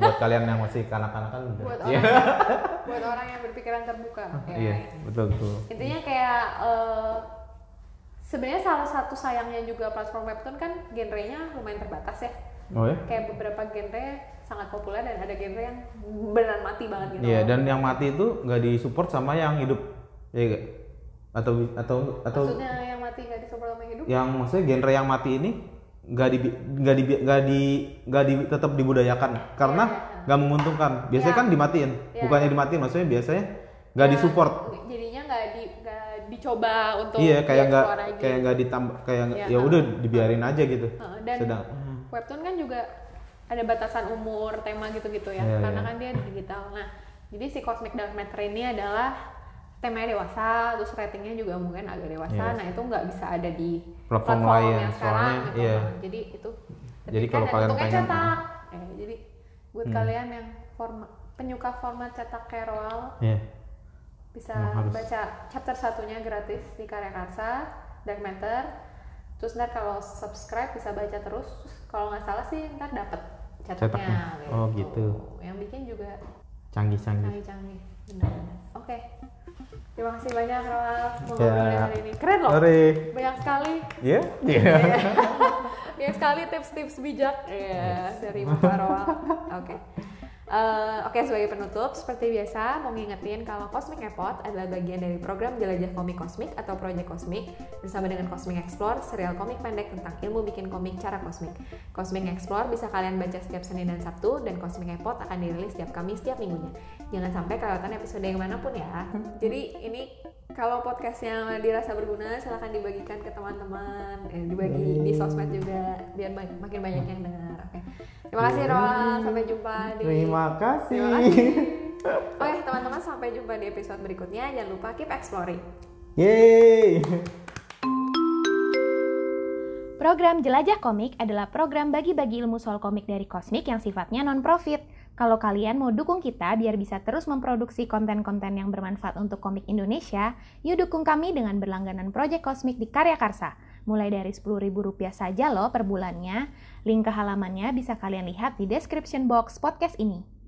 buat kalian yang masih kanak-kanak kan udah Iya. buat Iya. orang buat orang yang berpikiran terbuka ya. iya betul betul intinya kayak eh, sebenarnya salah satu sayangnya juga platform webtoon kan genrenya lumayan terbatas ya oh ya kayak beberapa genre sangat populer dan ada genre yang beneran mati banget gitu Iya, dan yang mati itu nggak disupport sama yang hidup, ya nggak? Atau atau atau maksudnya yang mati gak disupport sama hidup yang maksudnya genre yang mati ini nggak di nggak di nggak di nggak di tetap dibudayakan karena Iya, nggak menguntungkan. Biasanya kan dimatiin, bukannya dimatiin, maksudnya biasanya nggak Iya. disupport. jadinya nggak di nggak dicoba untuk Iya, kayak dia nggak keluar lagi. kayak nggak ditambah kayak nggak- Iya. ya udah dibiarin aja gitu. Heeh, dan Sedang. webtoon kan juga ada batasan umur tema gitu-gitu ya Iya, karena iya. kan dia digital nah jadi si cosmic dark matter ini adalah temanya dewasa terus ratingnya juga mungkin agak dewasa Yes. nah itu nggak bisa ada di Iya. Platform lain, yang sekarang soalnya, gitu iya. Nah, jadi itu Tapi Jadi kan kalau ada kalian bentuknya pengen- Hmm. cetak Eh, jadi buat kalian yang forma, penyuka format cetak Kerwal Iya. bisa Emang harus. baca chapter satunya gratis di Karya Karsa Dark Matter terus ntar kalau subscribe bisa baca terus Terus kalau nggak salah sih ntar dapet cetaknya, Cetaknya. Oh, gitu. yang bikin juga Canggih-canggih. canggih-canggih bener-bener. oke terima kasih banyak Rawal Ya. ngobrolnya hari ini keren loh Sorry. banyak sekali Iya. Iya. Iya, banyak sekali tips-tips bijak ya dari Bapak Rawal oke Eh, Oke, sebagai penutup, seperti biasa mau ngingetin kalau Cosmic Epot adalah bagian dari program Jelajah Komik Kosmik atau Project Kosmik bersama dengan Cosmic Explore, serial komik pendek tentang ilmu bikin komik cara kosmik. Cosmic Explore bisa kalian baca setiap Senin dan Sabtu dan Cosmic Epot akan dirilis setiap Kamis setiap minggunya. Jangan sampai kelewatan episode yang manapun ya. Jadi ini kalau podcastnya dirasa berguna, silahkan dibagikan ke teman-teman, eh, dibagi di sosmed juga, biar ba- makin banyak yang dengar. Oke, terima kasih Rowan, sampai jumpa di Terima kasih. Terima kasih. Oke teman-teman sampai jumpa di episode berikutnya. Jangan lupa keep exploring. Yeay. Program Jelajah Komik adalah program bagi-bagi ilmu soal komik dari Kosmik yang sifatnya non-profit. Kalau kalian mau dukung kita biar bisa terus memproduksi konten-konten yang bermanfaat untuk komik Indonesia, yuk dukung kami dengan berlangganan Project Kosmik di Karya Karsa. Mulai dari Rp10.000 saja loh per bulannya. Link ke halamannya bisa kalian lihat di description box podcast ini.